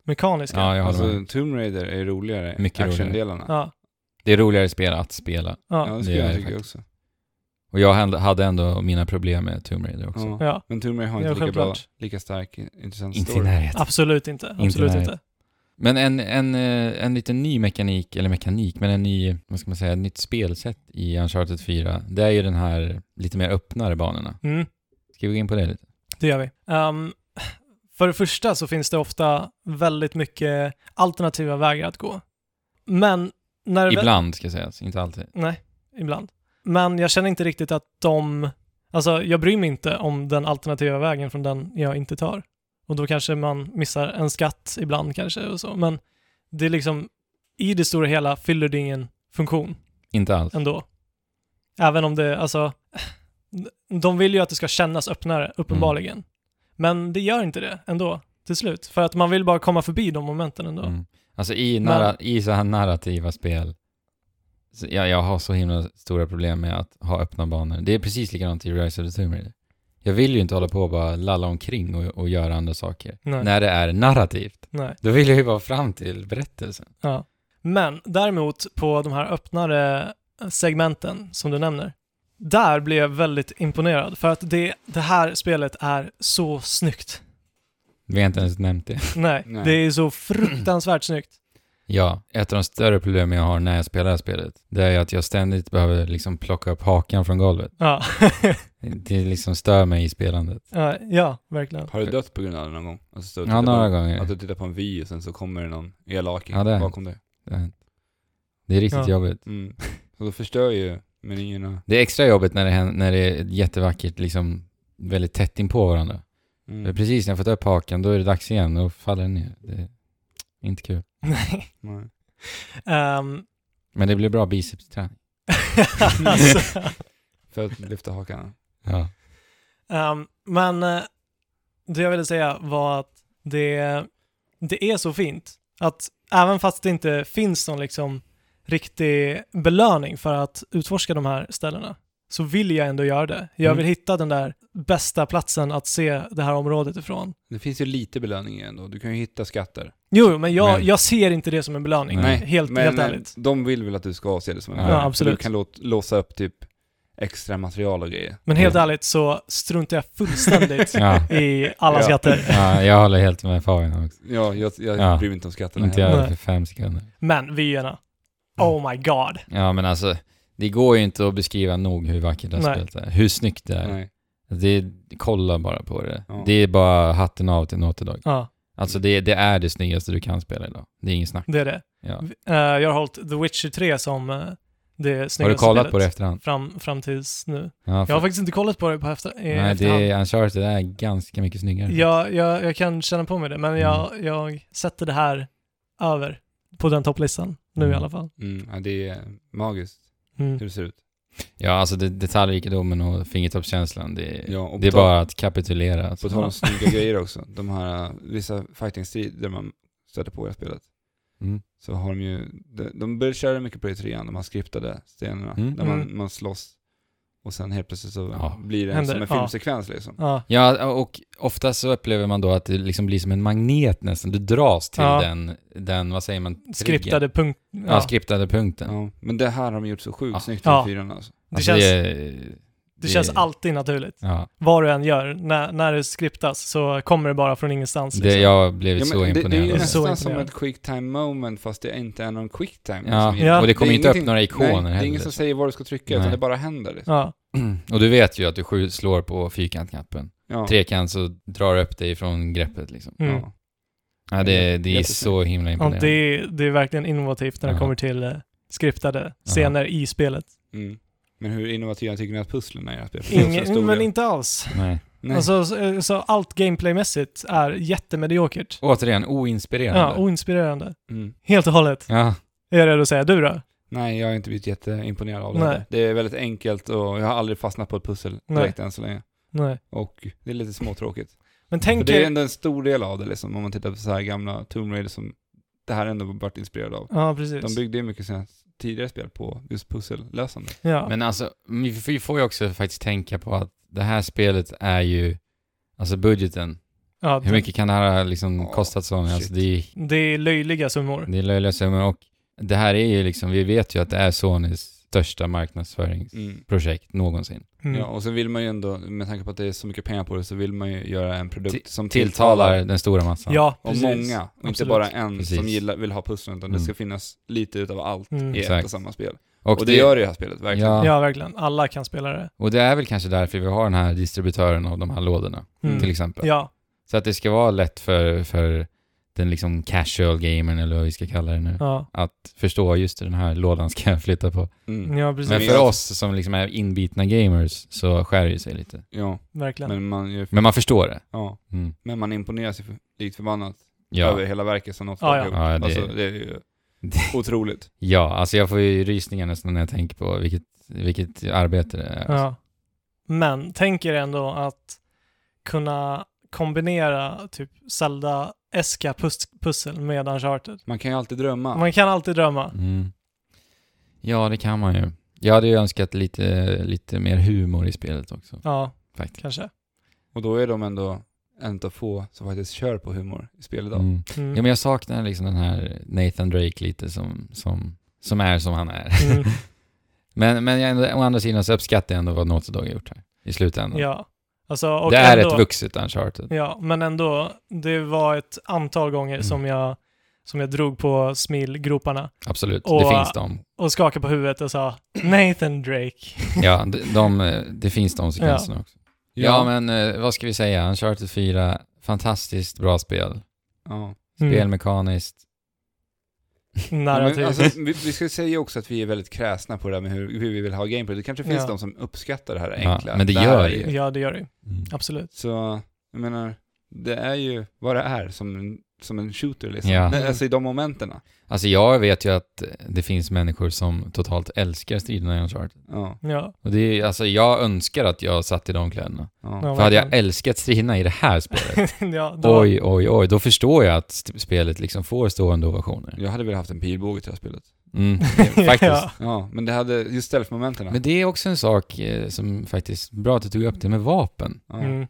spelmekaniska. Ja, jag håller med. Alltså, Tomb Raider är roligare. Mycket roligare. Actiondelarna. ja, Det är roligare spel att spela. Ja, ja. det skulle det är jag det tycka också. Och jag hand- hade ändå mina problem med Tomb Raider också. Ja. ja. Men Tomb Raider har Ja, inte lika bra, självklart. lika stark, intressant Inte i story. närheten. Absolut inte. Absolut nära. inte. Men en, en, eh, en liten ny mekanik, eller mekanik, men en ny, vad ska man säga, ett nytt spelsätt i Uncharted 4, det är ju den här lite mer öppnare banorna. Mm, Ska vi gå in på det lite? det gör vi. Ehm, för det första så finns det ofta väldigt mycket alternativa vägar att gå. Men när det väl- Ibland ska sägas, inte alltid. Nej, ibland. Men jag känner inte riktigt att de... Alltså, jag bryr mig inte om den alternativa vägen från den jag inte tar. Och då kanske man missar en skatt ibland kanske och så. Men det är liksom, i det stora hela fyller det ingen funktion Inte alls. ändå. Även om det, alltså, de vill ju att det ska kännas öppnare, uppenbarligen. Men det gör inte det ändå, till slut. För att man vill bara komma förbi de momenten ändå. Mm. Alltså i, narra- i så här narrativa spel, så jag, jag har så himla stora problem med att ha öppna banor. Det är precis likadant i Rise of the Tomb Raider. Jag vill ju inte hålla på och bara lalla omkring och, och göra andra saker. Nej. När det är narrativt, Nej. då vill jag ju vara fram till berättelsen. Ja. Men däremot på de här öppnare eh, segmenten som du nämner, där blev jag väldigt imponerad för att det, det här spelet är så snyggt. Vi har inte ens nämnt det. Nej, Nej. det är så fruktansvärt snyggt. Ja, ett av de större problemen jag har när jag spelar det här spelet, det är ju att jag ständigt behöver liksom plocka upp hakan från golvet. Ja, Det liksom stör mig i spelandet. ja, ja verkligen. Har du dött på grund av det någon gång? Alltså, stå och Ja, titta några på, gånger. Att du tittar på en vy och sen så kommer det någon elaking Ja, det är- bakom dig. Det är riktigt Ja. jobbigt. Mm. Så då förstör ju menyerna. Det är extra jobbigt när det, hän- när det är jättevackert, liksom väldigt tätt in på varandra. Mm. Precis när jag fått upp haken, då är det dags igen, då faller den ner. Det är inte kul. Nej. Nej. Ehm, Men det blir bra bicepsträning. alltså, För att lyfta hakan. Ja. ehm, men eh, det jag ville säga var att det, det är så fint att även fast det inte finns någon liksom riktig belöning för att utforska de här ställena så vill jag ändå göra det. Jag Mm. vill hitta den där bästa platsen att se det här området ifrån. Det finns ju lite belöning ändå. Du kan ju hitta skatter. Jo, men jag, Men- jag ser inte det som en belöning, Nej, helt, men helt eh, ärligt. de vill väl att du ska se det som en Ja, belöning. För absolut. Du kan låt, låsa upp typ extra material och grejer. Men helt ja. ärligt så struntar jag fullständigt Ja. i alla Ja. skatter. ja, jag håller helt med Fabian också. Ja, jag, jag Ja. bryr mig inte om skatterna Inte heller. jag Nej. för fem sekunder. Men vyerna, oh my god. Ja, men alltså, det går ju inte att beskriva nog hur vackert det här Nej. spelet är. Hur snyggt det är. Alltså, Nej. Det, kolla bara på det. Ja. Det är bara hatten av till Naughty Dog. Ja, Alltså det, det är det snyggaste du kan spela idag. Det är inget snack. det är det. Ja. Eh, jag har hållit The Witcher 3 som eh, det snyggaste Har du kollat spelet på det efterhand? Fram, fram tills nu. Ja, Jag har faktiskt inte kollat på det på efter, i Nej, efterhand. det är Uncharted är ganska mycket snyggare. Jag, jag, jag kan känna på mig det, men jag, Mm. jag sätter det här över på den topplistan nu i Mm. alla fall. Mm, ja, det är magiskt Mm. hur det ser ut. Ja, alltså det, detaljrikedomen och fingertoppskänslan, det, Ja, och det är på tal- bara att kapitulera. På Alltså. tal om snygga grejer också. De här, eh, vissa fighting-strider man stöter på i det här spelet. Mm. så har de ju, de, de började köra mycket på det i trean, de här skriptade scenerna, Mm. där man, Mm. man slåss och sen helt plötsligt så Ja. blir det Händer, som en ja. filmsekvens liksom. Ja, Ja, och oftast så upplever man då att det liksom blir som en magnet nästan. Du dras till Ja. den, den, vad säger man? triggern. skriptade punkt... Ja, skriptade punkten. Ja. Men det här har de gjort så sjukt Ja. snyggt Ja. i fyran alltså. Det Alltså, känns- är- Alltså, det känns alltid naturligt. Ja, Vad du än gör, när, när det skriptas så kommer det bara från ingenstans. liksom. det, jag blev Ja, så men det, imponerad. Alltså, det är ju Så nästan som imponerad. ett quick time moment fast det är inte är någon quick time. Ja, liksom. Ja. och det kommer är inte upp ingenting- några ikoner Nej, det är heller. liksom. ingen som säger vad du ska trycka Nej. utan det bara händer. Liksom. Ja, Och du vet ju att du skjut- slår på fyrkantknappen. Ja. Trekant så drar du upp dig från greppet liksom. mm. Ja. Ja, det, det är Jättesnyggt. så himla ja imponerande. det, det är verkligen innovativt när det Ja. kommer till eh, skriptade scener i spelet. Mm. Men hur innovativa tycker ni att pusslen är i det här spelet? För det är också Ingen, stora. men inte alls. Nej. Nej. Alltså, så, så allt gameplaymässigt är jättemediokert. Återigen, oinspirerande. Ja, oinspirerande. mm. Helt och hållet. Ja. Är jag redo att säga. Du då? Nej, jag har inte blivit jätteimponerad av det. Nej. heller. Det är väldigt enkelt och jag har aldrig fastnat på ett pussel Nej. direkt än så länge. Nej. Och det är lite småtråkigt. Men För tänk det är er... ändå en stor del av det liksom, om man tittar på så här gamla Tomb Raider som det här ändå varit inspirerad av. Ja, precis. De byggde ju mycket sina tidigare spel på just pussellösande. ja. Men alltså, vi får- vi får ju också faktiskt tänka på att det här spelet är ju, alltså budgeten, ja, hur mycket kan det här ha liksom Ja, kostat som? shit. Alltså det är, Det är löjliga summor. det är löjliga summor och det här är ju liksom, vi vet ju att det är Sonys största marknadsföringsprojekt Mm. någonsin. Mm. Ja, och sen vill man ju ändå, med tanke på att det är så mycket pengar på det, så vill man ju göra en produkt Till- som Tilltalar den stora massan. Ja, Och precis. många, och inte Absolut. bara en som Precis. gillar, vill ha pusslen, utan det Mm. ska finnas lite utav allt Mm. i ett Exakt. och samma spel. Och, det, det- gör det i det här spelet, verkligen. Ja. Ja, verkligen. Alla kan spela det. Och det är väl kanske därför vi har den här distributören av de här lådorna, Mm. till exempel. Ja, Så att det ska vara lätt för, för den liksom casual gamern, eller vad vi ska kalla det nu, ja. att förstå just den här lådan ska jag flytta på. Mm. ja precis. Men Men för jag- oss som liksom är inbitna gamers så skär det ju sig lite. Ja, Verkligen. men man, ju- Men man förstår det. ja, Mm. men man imponeras ju för- likt förbannat över Ja. hela verket som något Ja, ja. folk Ja, det- Alltså, det är ju otroligt. ja, alltså jag får ju rysningar nästan när jag tänker på vilket, vilket arbete det är. Ja. Men tänk er ändå att kunna kombinera typ Zelda-eska pus- pussel med Uncharted. Man kan ju alltid drömma. Man kan alltid drömma. Mm. Ja, det kan man ju. Jag hade ju önskat lite, lite mer humor i spelet också, Ja, faktiskt. kanske. Och då är de ändå en utav få som faktiskt kör på humor i spel idag. Mm. Mm. Ja, men jag saknar liksom den här Nathan Drake lite som, som, som är som han är. Mm. Men, men jag, ändå- å andra sidan så uppskattar jag ändå vad Naughty Dog har gjort här i slutändan. Ja. Alltså, och det är ändå, ett vuxet Uncharted. Ja, men ändå. Det var ett antal gånger Mm. som, jag, som jag drog på smilgroparna Absolut, Och- äh, det finns de. och skakade på huvudet och sa Nathan Drake. Ja, de, de, eh, det finns de sekvenserna också. Ja, Ja. men eh, vad ska vi säga? Uncharted 4, fantastiskt bra spel. Ja. Mm. Spelmekaniskt. Narrativ. Men, alltså, vi, vi ska säga också att vi är väldigt kräsna på det där med hur, hur vi vill ha gameplay. Det kanske finns Ja. de som uppskattar det här Ja, enkla. men det här gör är det ju. ja, det gör det ju. Absolut. Så, jag menar, det är ju vad det är som en, som en shooter liksom. Ja. Nej, alltså i de momenten. Alltså jag vet ju att det finns människor som totalt älskar striderna i Uncharted. Ja, Ja, Och det är, alltså jag önskar att jag satt i de kläderna. ja. ja, För hade jag verkligen. älskat striderna i det här spelet, ja, då, oj, oj, oj, då förstår jag att st- spelet liksom får stående ovationer. Jag hade velat haft en pilbåge till det här spelet. Mm, faktiskt. Ja. Ja, men det hade, just stealth-momenten. Men det är också en sak eh, som faktiskt, bra att du tog upp det med vapen. Ja. Mm.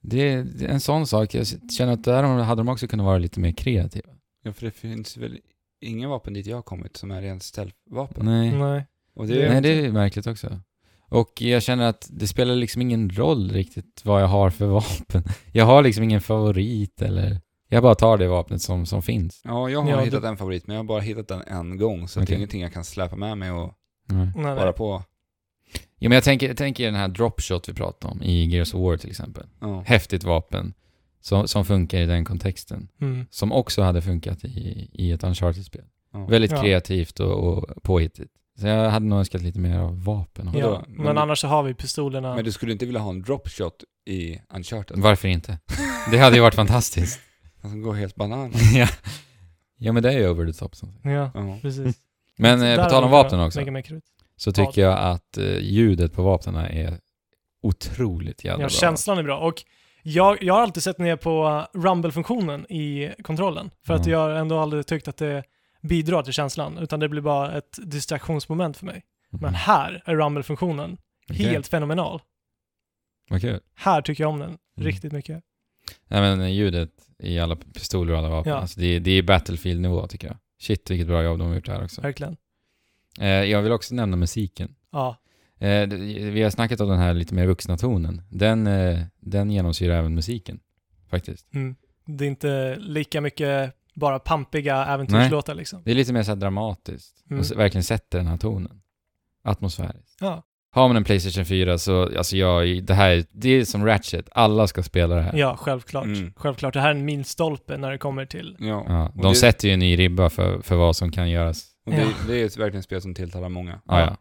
Det, det är en sån sak, jag känner att där hade de också kunnat vara lite mer kreativa. ja, för det finns väl inga vapen dit jag har kommit som är rent stealth-vapen. Nej. Nej. Och Det- Nej, det är märkligt också. Och jag känner att det spelar liksom ingen roll riktigt vad jag har för vapen. Jag har liksom ingen favorit eller... Jag bara tar det vapnet som, som finns. Ja, jag har Ja, hittat en favorit, men jag har bara hittat den en gång, så det Okej. är ingenting jag kan släpa med mig och Nej. Nej, nej. vara på. Ja, men jag tänker, jag tänker den här dropshot vi pratade om i Gears of War till exempel. Ja. Häftigt vapen som, som funkar i den kontexten. Mm. Som också hade funkat i, i ett Uncharted-spel. Ja. Väldigt Ja. kreativt och, och påhittigt. Så jag hade nog önskat lite mer av vapen. Vadå? Ja, men, Men- annars så har vi pistolerna. Men du skulle inte vilja ha en dropshot i Mm. Uncharted? Varför inte? Det hade ju varit fantastiskt. Han som går helt banan. ja. ja, men det är ju over the top. Som sagt. Ja, Ja. precis. Men Där eh, på hade tal om man kunnat vapen också, Lägga mer krut. så tycker jag att eh, ljudet på vapnen är otroligt jävla Ja, bra. känslan är bra. Och jag, jag har alltid sett ner på rumble-funktionen i kontrollen. För att Mm. jag har ändå aldrig tyckt att det bidrar till känslan, utan det blir bara ett distraktionsmoment för mig. Mhm. Men här är rumble-funktionen Okej, helt fenomenal. Vad kul. Här tycker jag om Mm. den riktigt mycket. Nej men eh, ljudet i alla pistoler och alla vapen, Ja. alltså, det, är- det är Battlefield-nivå tycker jag. Shit vilket bra jobb de har gjort här också. Verkligen. Eh, jag vill också nämna musiken. Ja, Eh, det- vi har snackat om den här lite mer vuxna tonen. Den, eh, den genomsyrar även musiken, faktiskt. mm. det är inte lika mycket bara pampiga äventyrslåtar liksom. Det är lite mer så här dramatiskt Mm. och s- verkligen sätter den här tonen. Atmosfäriskt. Ja. Har man en Playstation 4 så, alltså jag, det här, det är som Ratchet, alla ska spela det här. Ja, självklart. Mm. Självklart. Det här är en milstolpe när det kommer till... Ja. Ja, de Och det- sätter ju en ny ribba för, för vad som kan göras. Och det, Ja. det är ju ett- verkligen ett spel som tilltalar många. Ja, ja.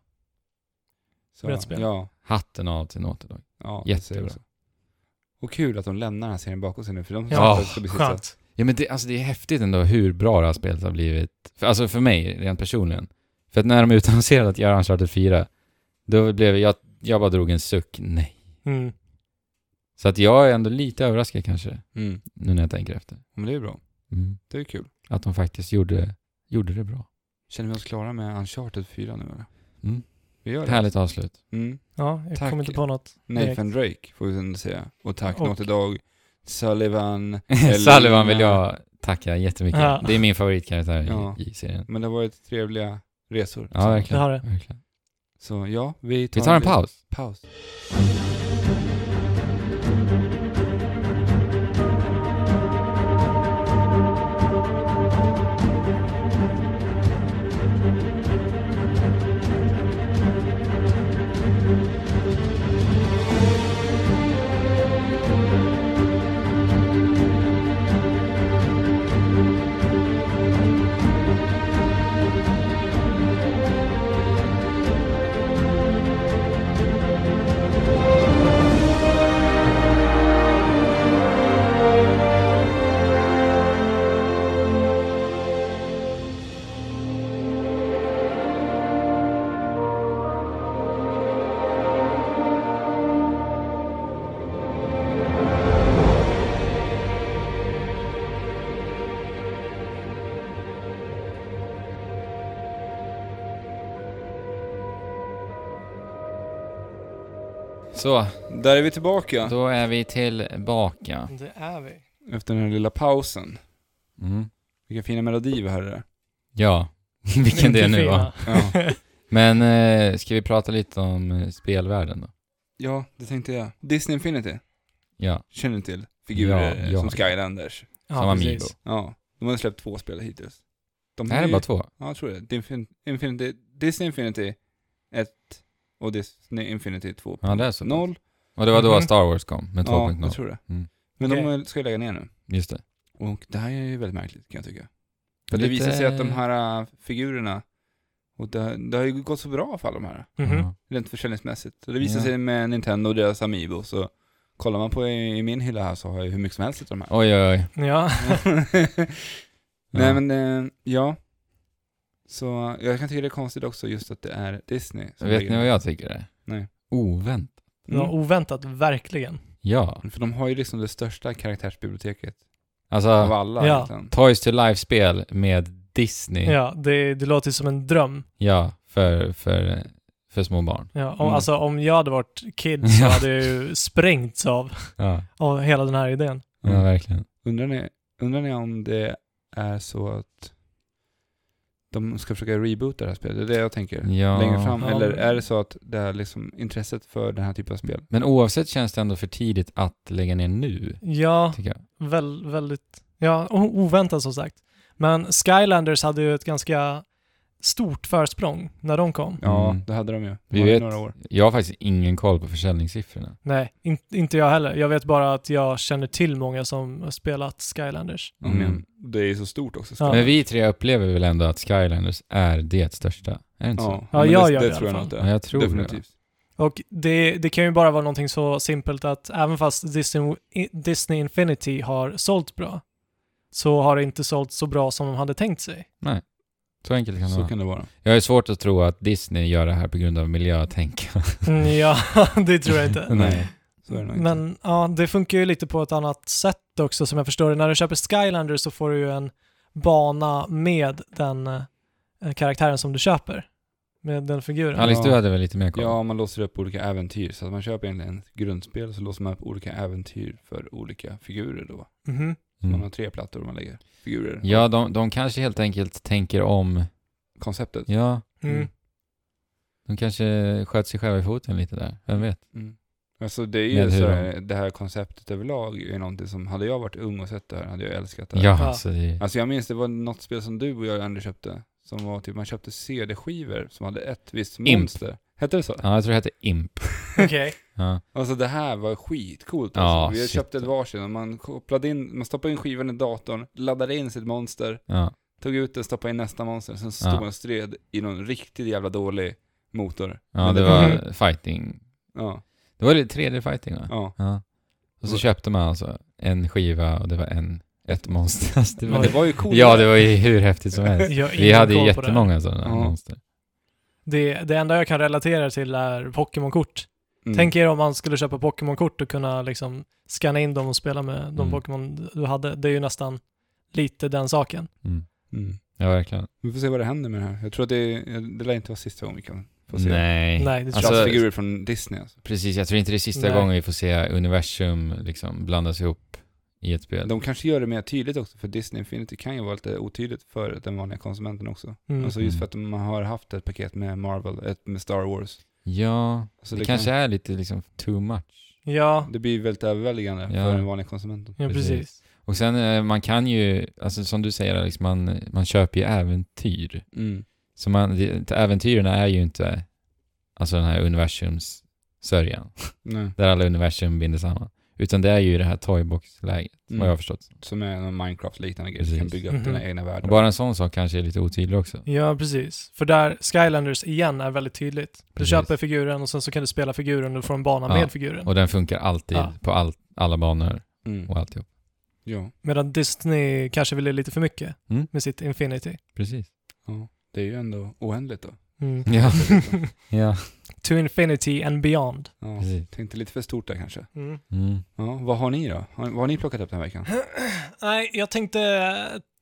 Så, Rätt spel. Ja, Hatten av till Naughty Dog. ja det Jättebra. säger jag också. Och kul att de lämnar den här serien bakom sig nu, för de Ja, sa att det ska bli sista. Skönt. Ja men det, alltså det är häftigt ändå hur bra det här spelet har blivit. För, alltså för mig, rent personligen. För att när de utannonserade att göra Uncharted 4, då blev jag, jag bara drog en suck. Nej. Mm. Så att jag är ändå lite överraskad kanske, Mm. nu när jag tänker efter. Men det är bra. Mm. Det är kul. Att de faktiskt gjorde, gjorde det bra. Känner vi oss klara med Uncharted 4 nu eller? Mm. Vi gör Ett det. härligt avslut. Mm. Ja, jag Tack. kommer inte på något. direkt. Nathan Drake får vi ändå säga. Och tack Och- Naughty Dog, Sullivan. Sullivan vill jag tacka jättemycket. Ja. Det är min favoritkaraktär i, Ja. i serien. Men det har varit trevliga resor. Ja, verkligen. Det har det. verkligen. Så ja, vi tar, Vi tar en paus. paus. Så, Där är vi tillbaka då är vi tillbaka. Det är vi. efter den här lilla pausen. Mm. Vilken fina melodi vi hörde där. Ja, vilken det är nu va? Ja. Men eh, ska vi prata lite om eh, spelvärlden då? ja, det tänkte jag. Disney Infinity, Ja, känner ni till? Figurer Ja, ja. som Skylanders. Ja, som Amiibo. precis. Ja, de har släppt två spel hittills. De Nej, det är ju- bara två. Ja, jag tror det. Infin- Infinity, Disney Infinity 1 och Disney Infinity 2.0. Ja, det är så. Och det var då Mhm. Star Wars kom med Ja, 2.0. jag tror det. Mm. Men de Okej. ska ju lägga ner nu. Just det. Och det här är ju väldigt märkligt kan jag tycka. För det Lite- visar sig att de här äh, figurerna, och det, det har ju gått så bra för alla de här, Mhm. Ja. rent försäljningsmässigt. Och det visar Ja. sig med Nintendo och deras Amiibo, så kollar man på i, i min hylla här så har jag ju hur mycket som helst utav de här. Oj, oj, oj. Ja, Nej Ja. men, eh, ja. Så jag kan tycka det är konstigt också just att det är Disney. som Vet lägger ni vad ner. jag tycker det är? Nej. Ovänt. det var Mm. oväntat, verkligen. Ja. För de har ju liksom det största karaktärsbiblioteket av Alltså, alla Ja. egentligen. Toys to Life-spel med Disney. Ja, det, det låter ju som en dröm. Ja, för, för, för små barn. Ja, om, Mm. Alltså om jag hade varit kid så Ja. hade jag ju sprängts av, Ja, av hela den här idén. Mm. ja verkligen. Undrar ni, undrar ni om det är så att de ska försöka reboota det här spelet? Det är det jag tänker. Ja. Längre fram. Ja. Eller är det så att det är liksom intresset för den här typen av spel? Men oavsett känns det ändå för tidigt att lägga ner nu, Ja, tycker jag. väl, väldigt, ja, o- oväntat som sagt. Men Skylanders hade ju ett ganska stort försprång när de kom. Ja, Mm. det hade de ju. De Vi hade vet. några år. Jag har faktiskt ingen koll på försäljningssiffrorna. Nej, in, inte jag heller. Jag vet bara att jag känner till många som har spelat Skylanders. Ja, Mm. Men det är ju så stort också. Ja. Men vi tre upplever väl ändå att Skylanders är det största? Är det inte så? ja, Ja, men jag det, gör det det i tror jag alla nog inte. Ja, jag tror det. Definitivt. Och det, det kan ju bara vara någonting så simpelt att även fast Disney, Disney Infinity har sålt bra så har det inte sålt så bra som de hade tänkt sig. Så enkelt kan det Så vara. kan det vara. Jag har ju svårt att tro att Disney gör det här på grund av miljötänk. Mm, ja, det tror jag inte. Nej. Så är det nog inte. Men ja, det funkar ju lite på ett annat sätt också som jag förstår det. När du köper Skylander så får du ju en bana med den eh, karaktären som du köper. Med den figuren. Alice, Ja. du hade väl lite mer koll? Ja, man låser upp olika äventyr. Så att man köper egentligen ett grundspel så låser man upp olika äventyr för olika figurer då. Mhm. Man Mm. har tre plattor och man lägger figurer. Ja, de, de kanske helt enkelt tänker om. Konceptet. Ja, Mm. de kanske sköt sig själva i foten lite där. Vem vet? Mm. Alltså det är ju Med hur så här, det här konceptet överlag är någonting som, hade jag varit ung och sett det här hade jag älskat det Ja, här. alltså det... Alltså jag minns det var något spel som du och jag ändå köpte, som var typ, man köpte CD-skivor som hade ett visst Imp. monster. Hette det så? Ja, jag tror det hette Imp. Okej. Ja. Alltså det här var skitcoolt. Ja, Alltså. Vi shit. köpte ett varsin och man kopplade in, man stoppade in skivan i datorn, laddade in sitt monster, Ja. tog ut det, stoppade in nästa monster, sen stod Ja. man och stred i någon riktigt jävla dålig motor. ja, Men det Mhm. var fighting. Ja, Det var lite 3D-fighting va? ja. Ja. Och så Och- köpte man alltså en skiva och det var en, ett monster. Alltså, det Men var, det var ju coolt. ja, det var ju hur häftigt som helst. Jag har Vi ingen hade ju koll på det här. jättemånga sådana Ja. monster. Det, det enda jag kan relatera till är Pokémon-kort. Mm. Tänk er om man skulle köpa Pokémon-kort och kunna liksom scanna in dem och spela med de Mm. Pokémon du hade. Det är ju nästan lite den saken. Mm. Mm. Ja, verkligen. Vi får se vad det händer med det här. Jag tror att det, det lär inte vara sista gången vi kan få se. Nej. Nej, det tror Alltså- jag inte. Plastfigurer från Disney alltså. Precis, jag tror inte det är sista Nej. gången vi får se universum liksom blandas ihop i ett spel. De kanske gör det mer tydligt också, för Disney Infinity kan ju vara lite otydligt för den vanliga konsumenten också. Mm. Alltså just för att man har haft ett paket med Marvel, ett med Star Wars. Ja, Alltså det, kanske är lite liksom too much. Ja, Det blir väldigt överväldigande Ja. för den vanliga konsumenten. ja, precis. precis. Och sen eh, man kan ju, alltså som du säger Alex, man, man köper ju äventyr. Mm. Så man, det, äventyren är ju inte alltså den här universums sörjan, Nej. där alla universum binder samman. Utan det är ju det här toybox-läget, Mm. vad jag har förstått. Som är en Minecraft-liknande grej, du Precis. kan bygga upp dina Mhm. egna världar. Och bara en sån sak kanske är lite otydlig också. Ja, precis. För där Skylanders igen är väldigt tydligt. Du Precis. köper figuren och sen så kan du spela figuren och du får en bana Ja. med figuren. Och den funkar alltid Ja. på all, alla banor Mm. och alltihop. Ja, Medan Disney kanske ville lite för mycket Mm. med sitt Infinity. Precis. ja. Det är ju ändå oändligt då. Mm. Ja. ja. to Infinity and beyond. Ja. Precis. Tänkte lite för stort där kanske. Mm. Mm. Ja, vad har ni då? Har, vad har ni plockat upp den här veckan? Nej, jag tänkte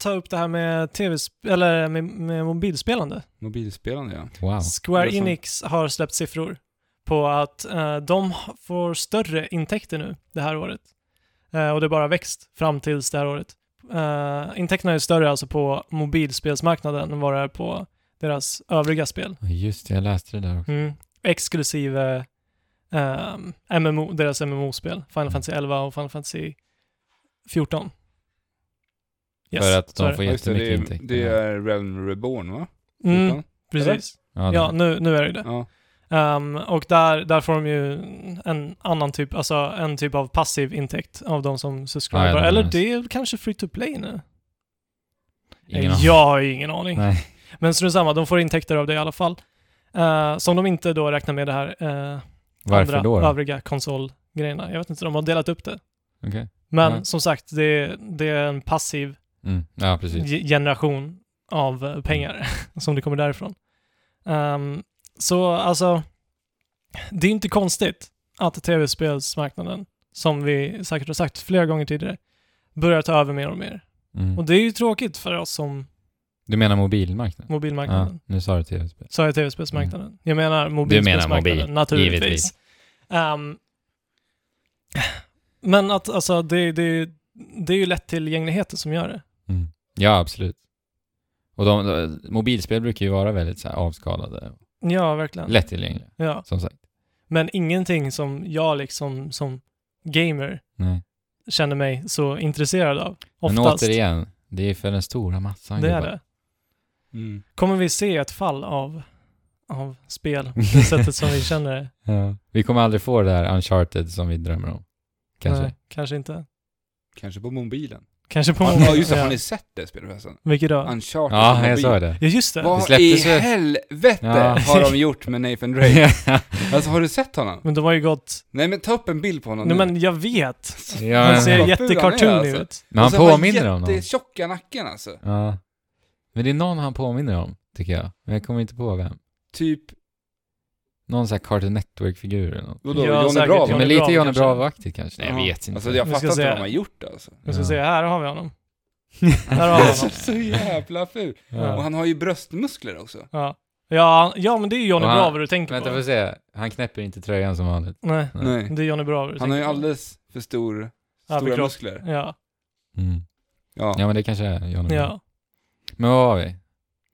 ta upp det här med tv eller med, med mobilspelande. Mobilspelande ja. Wow. Square Det är sant. Enix har släppt siffror på att eh, de får större intäkter nu det här året. Eh, och det har bara växt fram tills det här året. Eh, intäkterna är större alltså på mobilspelsmarknaden än vad det är på deras övriga spel. Ja, Just det, jag läste det där också. Mm. Exklusive ehm, MMO, deras MMO-spel, Final Fantasy 11 och Final Fantasy 14. Yes, För att så är de det. får Ja, just det, jättemycket det, är, intäkter. det är Realm Reborn va? Mm, Utan? precis. ja, det- Ja, nu, nu är det ju det. Ja. Ehm, och där, där får de ju en annan typ, alltså en typ av passiv intäkt av de som Ah, ja, subscribar. det är Eller nice. det är kanske free to play nu? ingen Eh, aning. jag har ju ingen aning. Nej. Men strunt samma, de får intäkter av det i alla fall. Eh, som de inte då räknar med det här eh, Varför andra då? då? övriga konsolgrejerna. Jag vet inte, de har delat upp det. Okej. Men Ja. som sagt, det, är- det är en passiv Mm. Ja, precis. Mm. ge- generation av eh, pengar som det kommer därifrån. Ehm, så alltså, det är inte konstigt att tv-spelsmarknaden, som vi säkert har sagt flera gånger tidigare, börjar ta över mer och mer. Mm. Och det är ju tråkigt för oss som Du menar mobilmarknaden? mobilmarknaden. Ja, nu sa du tv-spel. Sa jag tv-spelsmarknaden? Jag menar Du mobilspelsmarknaden, menar mobil, givetvis. naturligtvis. Ehm, men att alltså, det, det, det är ju lättillgängligheten som gör det. Mm. Ja, absolut. Och de, de, mobilspel brukar ju vara väldigt så här, avskalade och Ja, verkligen. lättillgängliga, Ja. som sagt. Men ingenting som jag liksom som gamer Nej. känner mig så intresserad av. Men Oftast. återigen, det är för den stora massan. det är gubbar. det. Mm. Kommer vi se ett fall av, av spel på det sättet som vi känner det? Ja. Vi kommer aldrig få det där uncharted som vi drömmer om. Kanske. Nej, kanske inte. Kanske på mobilen. Kanske på Ja, just det. Har ni sett det spelet förresten? Vilket då? Uncharted på Ja, mobil. jag sa det. Ja, just det. Det Vad i släpptes ju- helvete Ja. har de gjort med Nathan Drake? Alltså har du sett honom? Men de har ju gått... Nej men ta upp en bild på honom Nej, nu. men jag vet. ja, Han men- ser vad ful han är, jättekartonig alltså. ut. men han påminner om någon. Jättetjocka nacken alltså. Ja. Men det är någon han påminner om, tycker jag. Men jag kommer inte på vem. Typ, Någon sån här Cartoon Network-figur eller något. vadå, Ja, Johnny säkert. Bravo? Ja, Johnny men lite Bravo Johnny kanske. Bravo-aktigt kanske. Nej, jag vet inte. Alltså jag Vi ska fattar inte se. vad de har gjort alltså. Jag ska Ja. se, här har vi honom. Där har vi Alltså honom. så jävla ful. Ja. Och han har ju bröstmuskler också. Ja. Ja, ja, men det är ju Johnny Och han- Bravo du tänker på. Vänta, får jag se. Han knäpper inte tröjan som vanligt. Nej, Ja. Nej. det är Johnny Bravo du Han har ju tänker på. alldeles för stor, stora Överkropp. muskler. Ja, Ja, Ja, men det kanske är Johnny Mm. Bravo. ja. Men vad var vi?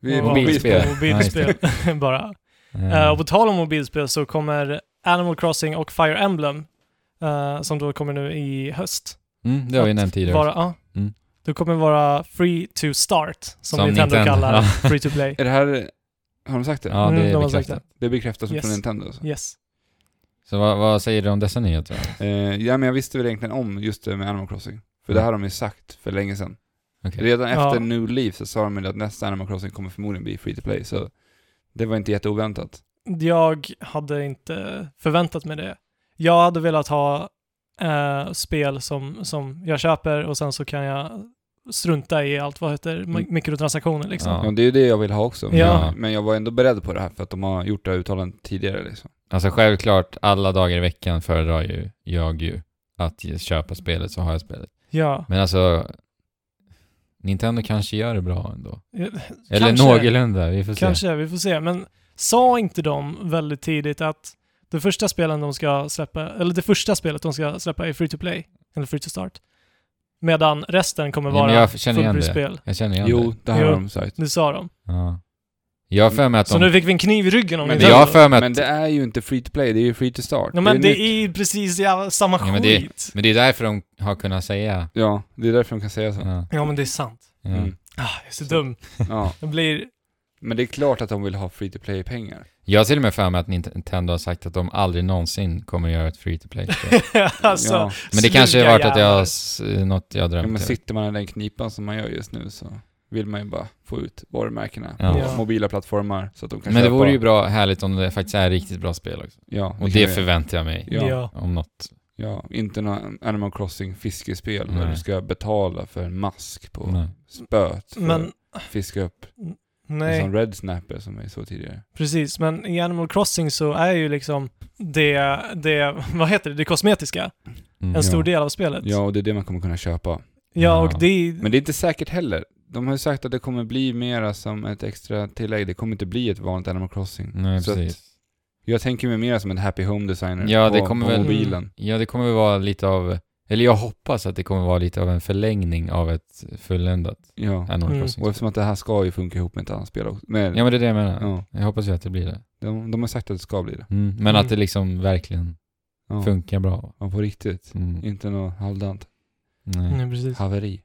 vi är Ja, mobilspel. Mobilspel, bara. Mm. Eh, och på tal om mobilspel så kommer Animal Crossing och Fire Emblem, eh, som då kommer nu i höst, Mm, det har vi nämnt tidigare. vara, ja, Mm. då kommer vara free to start, som, Som Nintendo, Nintendo, kallar ja. free to play. Är det här, har de sagt det? Ja, det Mm, är de har sagt bekräftat. Det bekräftas Yes. från Nintendo alltså. Yes. Så vad, vad säger du om dessa nyheter? Okej. Eh, ja, men jag visste väl egentligen om just det med Animal Crossing. För det Mm. här har de ju sagt för länge sedan. Redan Ja. efter New Leaf så sa de ju att nästa Animal Crossing kommer förmodligen bli free to play, så det var inte jätteoväntat. Jag hade inte förväntat mig det. Jag hade velat ha eh, spel som, som jag köper och sen så kan jag strunta i allt vad heter mi- Mm. mikrotransaktioner liksom. Ja. Ja, det är ju det jag vill ha också. Men- Ja. Men jag var ändå beredd på det här för att de har gjort det här uttalandet tidigare. Liksom. Alltså självklart, alla dagar i veckan föredrar ju jag ju att ju köpa spelet så har jag spelet. Ja. Men alltså, Nintendo kanske gör det bra ändå. Eller Kanske. någorlunda, vi får se. Kanske, vi får se. Men sa inte de väldigt tidigt att det första spelen de ska släppa, eller det första spelet de ska släppa är free to play, eller free to start. Medan resten kommer Ja, men vara jag känner igen det. fullprisspel. Jag känner igen Jo, det. det här Jo. har de sagt. Det sa de. Ja. Jag har för mig att Så de... nu fick vi en kniv i ryggen om Men Men det- jag har Nintendo. för mig att... Men det är ju inte free to play, det är ju free to start. Ja, men ju det nytt. är ju precis jävla samma Ja, men det- skit. Men det är därför de har kunnat säga... Ja, det är därför de kan säga så. Ja, Ja, men det är sant. ja. Mm. Ah, jag är så dum. Ja. Jag blir... Men det är klart att de vill ha free to play-pengar. Jag har till och med för mig att Nintendo har sagt att de aldrig någonsin kommer göra ett free to play alltså, ja. Men det kanske sluga har varit att jag, jävlar. har s- eh, något jag har ja, drömt. men till. sitter man i den knipan som man gör just nu så vill man ju bara få ut varumärkena Ja. på Ja. mobila plattformar så att de kan men det köpa. vore ju bra, härligt om det faktiskt är riktigt bra spel också. Ja, Och kan det vi- förväntar jag mig. Ja. ja. Om något. Ja, inte några Animal Crossing fiskespel där Nej. du ska betala för en mask på Nej. spöet för Men, att fiska upp en nej. sån red snapper som vi såg tidigare. Precis, men i Animal Crossing så är ju liksom det, det vad heter det, det kosmetiska Mm. en stor Ja. del av spelet. Ja, och det är det man kommer kunna köpa. Ja, och Ja. Mm. det, Men det är inte säkert heller. De har ju sagt att det kommer bli mera som ett extra tillägg. Det kommer inte bli ett vanligt Animal Crossing. Nej, Så att- precis. Jag tänker mig mera som en happy home designer Ja, på, det kommer på väl- mobilen. Ja, det kommer väl vara lite av... Eller jag hoppas att det kommer vara lite av en förlängning av ett fulländat Ja. Animal Mm. Crossing. Och eftersom att det här ska ju funka ihop med ett annat spel också. Men, Ja, men det är det jag menar. ja, Jag hoppas ju att det blir det. de, de har sagt att det ska bli det. Mm. Men Mm. att det liksom verkligen Ja, funkar bra. ja på riktigt. Mm. Inte något halvdant. Nej. nej, precis. Haveri.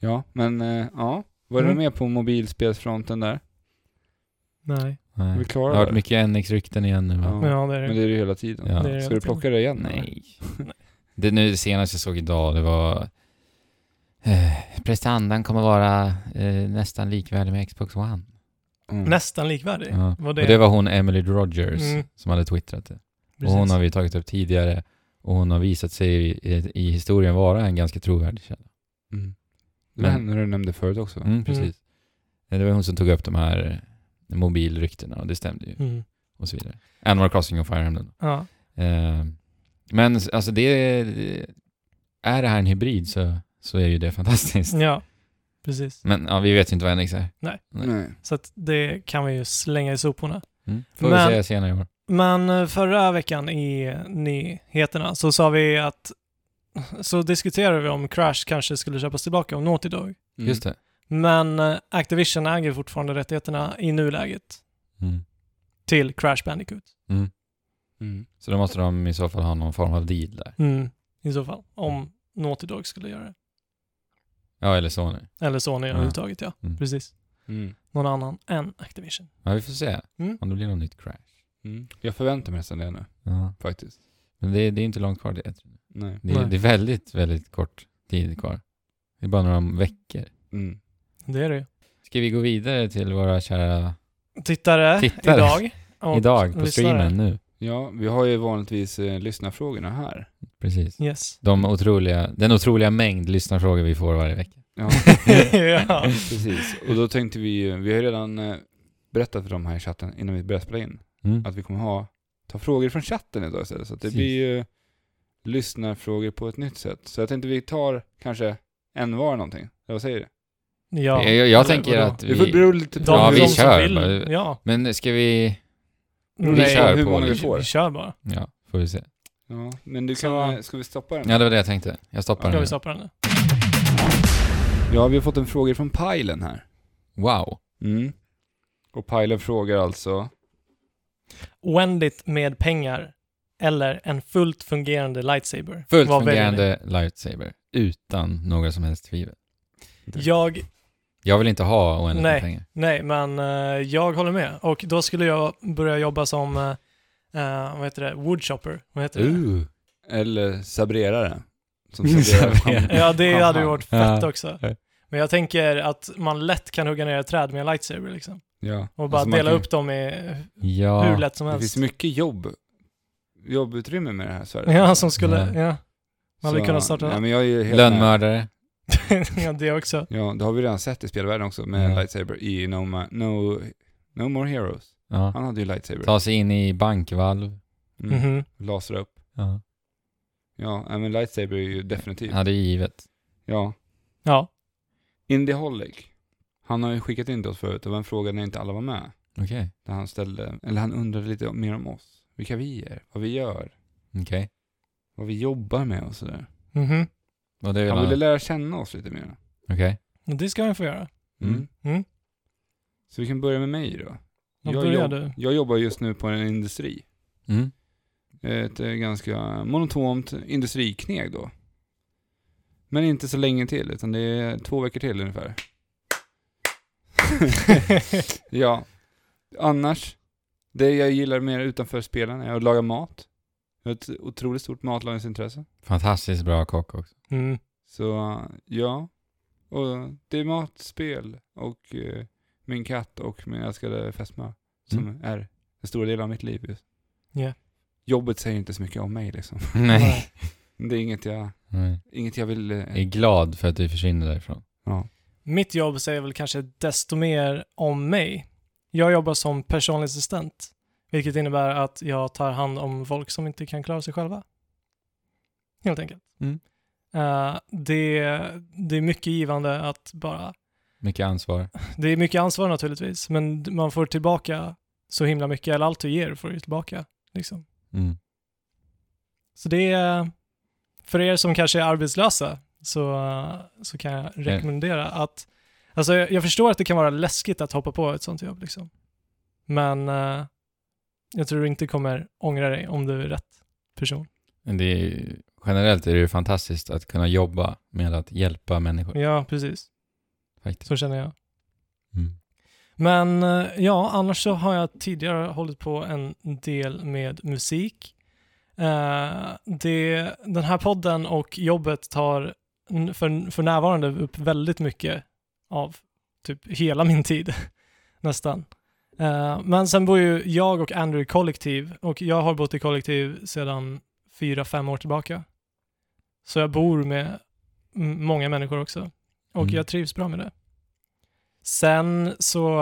Ja, men eh, ja. Var Mm. du med på mobilspelsfronten där? Nej. Nej. Vi Det klarar har varit det. mycket NX-rykten igen nu va? Ja. Ja, det är det. Men det är det ju hela tiden. Ja. Det är det Ska du hela plocka det igen? eller? Nej. Det, nu, det senaste jag såg idag, det var... Eh, prestandan kommer vara eh, nästan likvärdig med Xbox One. Mm. Nästan likvärdig. Ja. Vad Och det var hon Emily Rogers Mm. som hade twittrat det. Precis. Och hon har vi tagit upp tidigare och hon har visat sig i, i, i historien vara en ganska trovärdig källa. Mm. Det var Men- henne du nämnde förut också. va? Mm, precis. Det var hon som tog upp de här eh, mobilryktena och det stämde ju Mm. och så vidare. Animal Crossing och Fire Emblem. Ja. Eh, men alltså det... Är det här en hybrid så, så är ju det fantastiskt. ja, precis. Men ja, vi vet ju inte vad NX är. Nej. Nej. Så att det kan vi ju slänga i soporna. Mm. Får Men- vi se senare i år. Men eh, förra veckan i nyheterna så sa vi att så diskuterade vi om Crash kanske skulle köpas tillbaka av Naughty Dog. Mm. Just det. Men eh, Activision äger fortfarande rättigheterna i nuläget Mm. till Crash Bandicoot. Mm. Så då måste de i så fall ha någon form av deal där. Mm. I så fall. Om Naughty Dog skulle göra det. Ja, eller Sony. Eller Sony Ja. överhuvudtaget ja. Mm. Precis. Mm. Någon annan än Activision. Ja, vi får se Mm. om det blir något nytt crash. Mm. Jag förväntar mig nästan det nu, Ja. faktiskt. Men det, det är inte långt kvar det. Nej. Det, Nej. är- det är väldigt, väldigt kort tid kvar. Det är bara några veckor. Mm. Det är det ju. Ska vi gå vidare till våra kära Tittare, Tittare. idag. och idag på lyssnare. streamen nu? Ja, vi har ju vanligtvis eh, lyssnarfrågorna här. Precis. Yes. De otroliga, den otroliga mängd lyssnarfrågor vi får varje vecka. Ja, Mm. ja. precis. Och då tänkte vi, ju- vi har ju redan eh, berättat för de här i chatten innan vi började spela in, Mm. att vi kommer ha, ta frågor från chatten idag istället. Så att det Precis. blir ju lyssnarfrågor på ett nytt sätt. Så jag tänkte vi tar kanske en var någonting. Eller vad säger du? ja. jag jag, jag Eller tänker vadå? att Det får vi... bero lite De, på Ja, vi de kör som bara. vill. Ja. Men ska vi... Vi Nej, kör hur på många vi liksom. får. Vi kör bara. Ja, får vi se. Ja, men du kan, eh, Så- ska vi stoppa den? Ja, det var det jag tänkte. Jag stoppar Ska den vi nu. stoppa den nu? Ja, vi har fått en fråga från Pajlen här. Wow. Mm. Och Pajlen frågar alltså, Oändligt med pengar eller en fullt fungerande lightsaber. Fullt Vad väljer ni? fungerande lightsaber. Utan några som helst tvivel. Jag Jag vill inte ha oändligt Nej. med pengar. Nej, men eh, jag håller med. Och då skulle jag börja jobba som, eh, eh, vad heter det, woodchopper. Vad heter det? Uh. eller sabrerare. Som sabrerar Sabrerare. fram- Ja, det hade ju varit fett Ja. också. Men jag tänker att man lätt kan hugga ner ett träd med en lightsaber liksom. Ja. Och bara Alltså, man dela kan- upp dem i Ja. hur lätt som Det helst. finns mycket jobb, jobbutrymme med det här Sverige. Ja, som skulle, Ja. ja. Man hade Så- kunnat starta- Nej, men jag är ju helt med. Lönnmördare. ja, det också. Ja, det har vi redan sett i spelvärlden också med Ja. lightsaber i no, Ma- no, no More Heroes. Ja. Han hade ju lightsaber. Ta sig in i bankvalv. Mm. Mhm. Lasra upp. Ja. Ja, nej, men lightsaber är ju definitivt. ja, det är givet. Ja. Ja. Indieholic. Han har ju skickat in till oss förut, det var en fråga när inte alla var med. Okej. Där han ställde, eller han undrade lite mer om oss. Vilka vi är, vad vi gör, Okej. vad vi jobbar med och sådär. Mhm. Och det vill Han han... ville lära känna oss lite mer. Okej. Och Det ska han få göra. Mm. Mm. Så vi kan börja med mig då. Jag, Då börjar jobb- du. jag jobbar just nu på en industri. Mm. Ett eh, ganska monotont industrikneg då. Men inte så länge till, utan det är två veckor till ungefär. ja. Annars, det jag gillar mer utanför spelen är att laga mat. Jag har ett otroligt stort matlagningsintresse. Fantastiskt bra kock också. Mm. Så ja, och det är matspel och eh, min katt och min älskade fästmö som är den stora delen av mitt liv just. Ja. Jobbet säger inte så mycket om mig liksom. Nej. Det är inget jag, Nej. inget jag vill... eh, Jag är glad för att du försvinner därifrån. Ja. Mitt jobb säger väl kanske desto mer om mig. Jag jobbar som personlig assistent, vilket innebär att jag tar hand om folk som inte kan klara sig själva. Helt enkelt. Mm. Eh, det, det är mycket givande att bara... Mycket ansvar. Det är mycket ansvar naturligtvis, men man får tillbaka så himla mycket, eller allt du ger får du tillbaka. Liksom. Mm. Så det är, för er som kanske är arbetslösa så, så kan jag rekommendera att, alltså jag jag förstår att det kan vara läskigt att hoppa på ett sånt jobb liksom. Men eh, jag tror du inte kommer ångra dig om du är rätt person. Men Det är, generellt är det ju fantastiskt att kunna jobba med att hjälpa människor. Ja, precis. Faktiskt. Så känner jag. Mm. Men eh, ja, annars så har jag tidigare hållit på en del med musik. Eh, det, den här podden och jobbet tar n- för, för närvarande upp väldigt mycket av typ hela min tid, nästan. Eh, men sen bor ju jag och Andrew i kollektiv och jag har bott i kollektiv sedan fyra, fem år tillbaka. Så jag bor med m- många människor också och Mm. jag trivs bra med det. Sen så,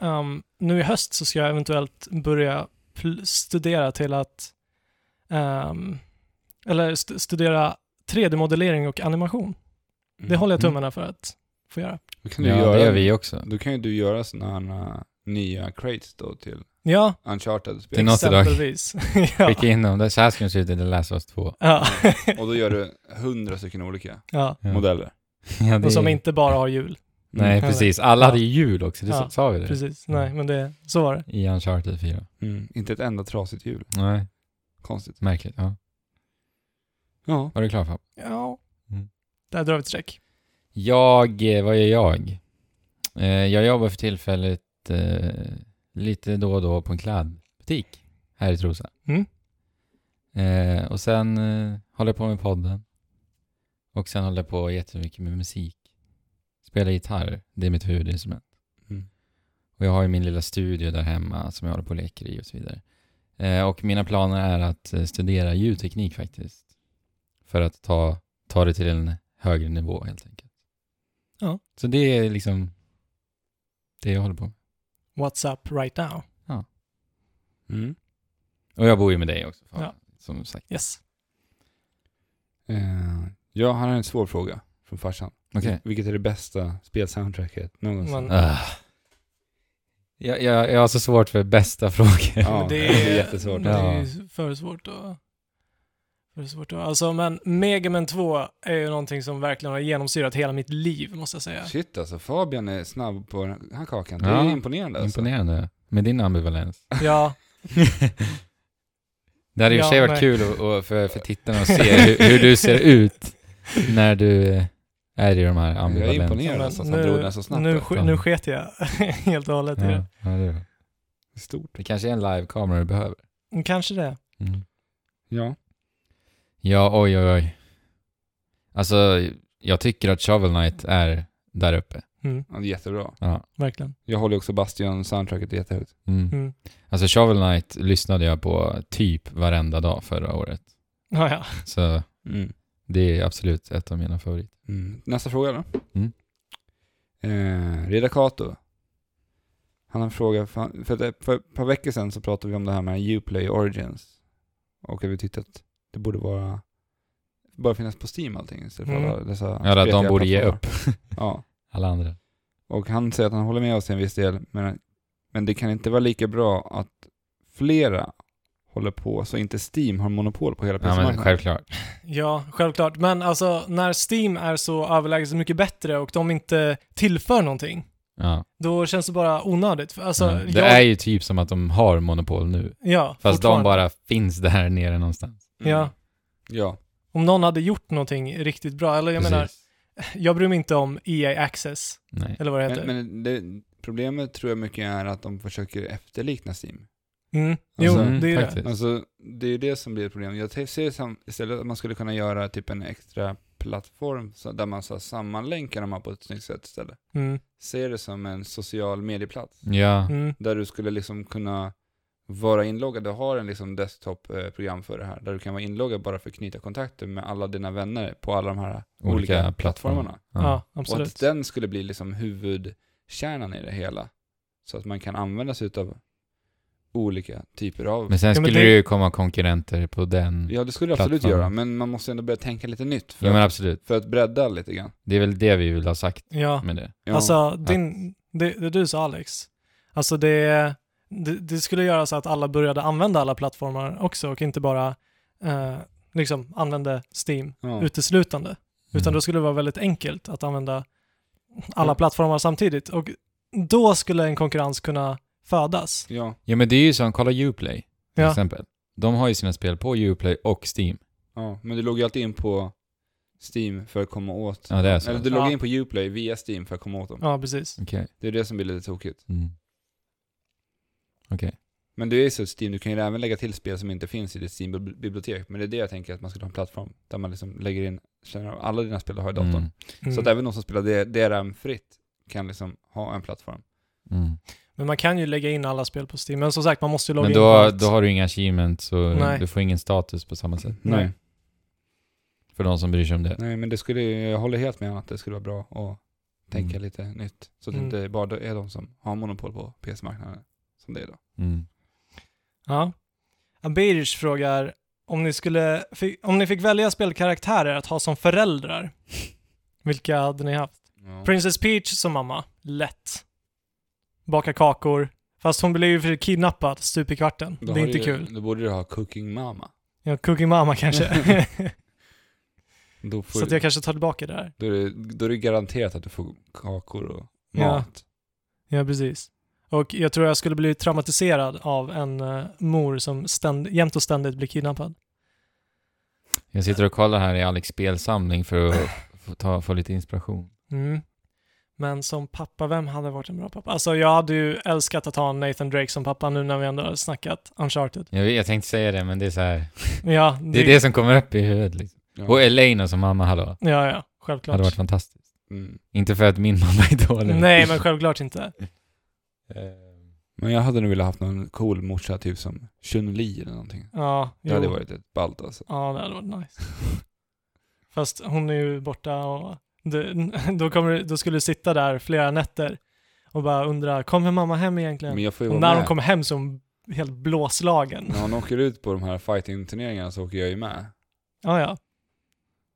ehm, nu i höst så ska jag eventuellt börja pl- studera till att, ehm, eller st- studera 3D-modellering och animation. Det håller jag tummarna för att få göra. Då mm. kan, du Ja, göra, det gör vi också. då kan ju du göra sådana här, eh, nya crates då till Ja, Uncharted-spel. Det är något idag. exempelvis. ja. Skicka in dem. Det- Så här ska de se ut i The Last of Us 2. Ja. Och då gör du hundra stycken olika ja. Ja. modeller. Mm. Ja, det Och som är- inte bara har jul. Nej, Eller? precis. Alla Ja. hade ju jul också. Det Ja, sa vi det. Precis. Nej, men det, så var det. I Uncharted 4. Mm. Inte ett enda trasigt hjul. Nej, Konstigt. märkligt. Ja. Ja. Var du klar Fab? Ja. Mm. Där drar vi ett streck. Jag, eh, vad gör jag? Eh, jag jobbar för tillfället eh, lite då och då på en klädbutik här i Trosa. Mm. Eh, och sen eh, håller jag på med podden. Och sen håller jag på jättemycket med musik. Spelar gitarr, det är mitt huvudinstrument. Mm. Och jag har ju min lilla studio där hemma som jag håller på och leker i och så vidare. Eh, och mina planer är att eh, studera ljudteknik faktiskt. För att ta, ta det till en högre nivå helt enkelt. Ja. Så det är liksom det jag håller på med. What's up right now? Mm. Och jag bor ju med dig också. Fan, Ja. Som sagt. Yes. Eh, jag har en svår fråga från farsan. Okej. Vilket är det bästa spelsoundtracket någonsin? Men, Ah. Jag, jag, jag har så svårt för bästa frågor. Ja, men det är jättesvårt. Det Ja. är ju för svårt att... För svårt att... Alltså, men Mega Man 2 är ju någonting som verkligen har genomsyrat hela mitt liv, måste jag säga. Shit alltså, Fabian är snabb på den här kakan. Det Ja. är imponerande alltså. Imponerande. Med din ambivalens. Ja, Det hade i och för sig Ja, varit nej. kul att- att- för, för tittarna att se hur, hur du ser ut när du eh, är i de här Jag är ambivalenserna. imponerad men alltså, att han drog den så snabbt. nu, där. sk- nu sket jag helt och hållet i Ja, det. ja, det, är bra. Stort. det kanske är en live-kamera du behöver. Kanske det. Ja. Mm. Ja, oj, oj, oj. Alltså, jag tycker att Shovel Knight är där uppe. Mm, ja, det är jättebra. Ja. verkligen. Jag håller också Bastion-soundtracket jättehögt. Mm. Mm. Alltså, Shovel Knight lyssnade jag på typ varenda dag förra året. Ja, ja. Så Mm. Det är absolut ett av mina favoriter. Mm. Nästa fråga då. Mm. Eh, Reda Kato. Han har en fråga, för, han- för, att det- för ett par veckor sedan så pratade vi om det här med Uplay Origins. Och att vi tyckte att det borde vara, bara finnas på Steam allting istället för Mm. alla dessa Ja, att de spretiga borde ge plattformar. upp Ja. alla andra. Och han säger att han håller med oss till en viss del, men, men det kan inte vara lika bra att flera håller på så inte Steam har monopol på hela Ja, men PC-marknaden. självklart. Ja, självklart. Men alltså när Steam är så överlägset mycket bättre och de inte tillför någonting, Ja. då känns det bara onödigt. För, Alltså, Ja. Det jag, är ju typ som att de har monopol nu. ja, Fast de fortfarande. bara finns där nere någonstans. Ja. Mm. Ja. Om någon hade gjort någonting riktigt bra, eller jag menar, Precis. jag bryr mig inte om EA Access, Nej. eller vad det heter. Men, men det, problemet tror jag mycket är att de försöker efterlikna Steam. mm. Jo, Alltså, det är ju det. faktiskt. Alltså, det är ju det som blir ett problem. Jag te- ser sam- istället att man skulle kunna göra typ en extra plattform så, där man så här, sammanlänkar de här på ett snyggt sätt istället. Mm. Ser det som en social medieplats. Ja, Mm. där du skulle liksom kunna vara inloggad. Du har en liksom desktop-program för det här, där du kan vara inloggad bara för att knyta kontakter med alla dina vänner på alla de här olika, olika plattformar. plattformarna. Ja, Och att absolut. den skulle bli liksom huvudkärnan i det hela. Så att man kan använda sig av olika typer av... Men sen Ja, men skulle det- det ju komma konkurrenter på den. Ja, ja, det skulle du absolut plattformen. göra, men man måste ändå börja tänka lite nytt för, men att, absolut. för att bredda lite grann. Det är väl det vi vill ha sagt Ja. med det. Ja. Alltså, din, det, det du sa Alex, alltså det, det, det skulle göra så att alla började använda alla plattformar också och inte bara eh, liksom använde Steam ja. uteslutande. Utan Mm. då skulle det vara väldigt enkelt att använda alla Ja. plattformar samtidigt och då skulle en konkurrens kunna födas. ja. Ja, men det är ju som, kolla Uplay till Ja. exempel. De har ju sina spel på Uplay och Steam. Ja, men du loggar alltid in på Steam för att komma åt... Ja, det är så. Eller du loggar Ja. in på Uplay via Steam för att komma åt dem. Ja, precis. Okej. Det är det som blir lite tokigt. Mm. Okej. Men det är ju så att Steam, du kan ju även lägga till spel som inte finns i ditt Steam-bibliotek. Men det är det jag tänker att man skulle ha en plattform där man liksom lägger in känner av alla dina spel du har i datorn. Mm. Så att Mm. även de som spelar D- DRM-fritt kan liksom ha en plattform. Mm. Men man kan ju lägga in alla spel på Steam, men som sagt man måste ju logga Men in på då, allt. då har du inga achievements och Nej. du får ingen status på samma sätt. Nej. För de som bryr sig om det. Nej, men det skulle, ju- jag håller helt med om att det skulle vara bra att tänka Mm. lite nytt. Så att det Mm. inte bara är de som har monopol på PS-marknaden som det är idag. Mm. Ja. Abirish frågar om ni, skulle, fi- om ni fick välja spelkaraktärer att ha som föräldrar, vilka hade ni haft? Princess Peach som mamma, lätt. Baka kakor, fast hon blev ju för kidnappad stup i kvarten. Då det har är inte du, kul. Då borde du ha Cooking Mama. Ja, cooking mamma kanske. Då, Så får att du, jag kanske tar tillbaka det där. då, är det, då är det garanterat att du får kakor och Ja. mat. Ja, precis. Och jag tror jag skulle bli traumatiserad av en eh, mor som ständ, jämt och ständigt blir kidnappad. Jag sitter och kollar här i Alex spelsamling för att få, ta, få lite inspiration. Mm. Men som pappa, vem hade varit en bra pappa? Alltså jag hade ju älskat att ha Nathan Drake som pappa nu när vi ändå har snackat Uncharted. Jag, vet- jag tänkte säga det, men det är så här. Men Ja, Det är det som kommer upp i huvudet liksom. Ja. Och Elena som mamma, hallå. Ja, ja, Det självklart. hade varit fantastiskt. Mm. Inte för att min mamma är dålig. Nej, men självklart inte. Eh, Men jag hade nog velat haft någon cool morsa, typ som Chun-Li eller någonting. Ja, Det jo. hade varit ett ballt alltså. Ja, det hade varit nice. Fast hon är ju borta och det, då, kommer, du- då skulle du sitta där flera nätter och bara undra, kommer mamma hem egentligen? Men jag får ju vara Och när med. Mm. hon kommer hem så är hon helt blåslagen. När hon åker ut på de här fighting-turneringarna så åker jag ju med. Ja, ja.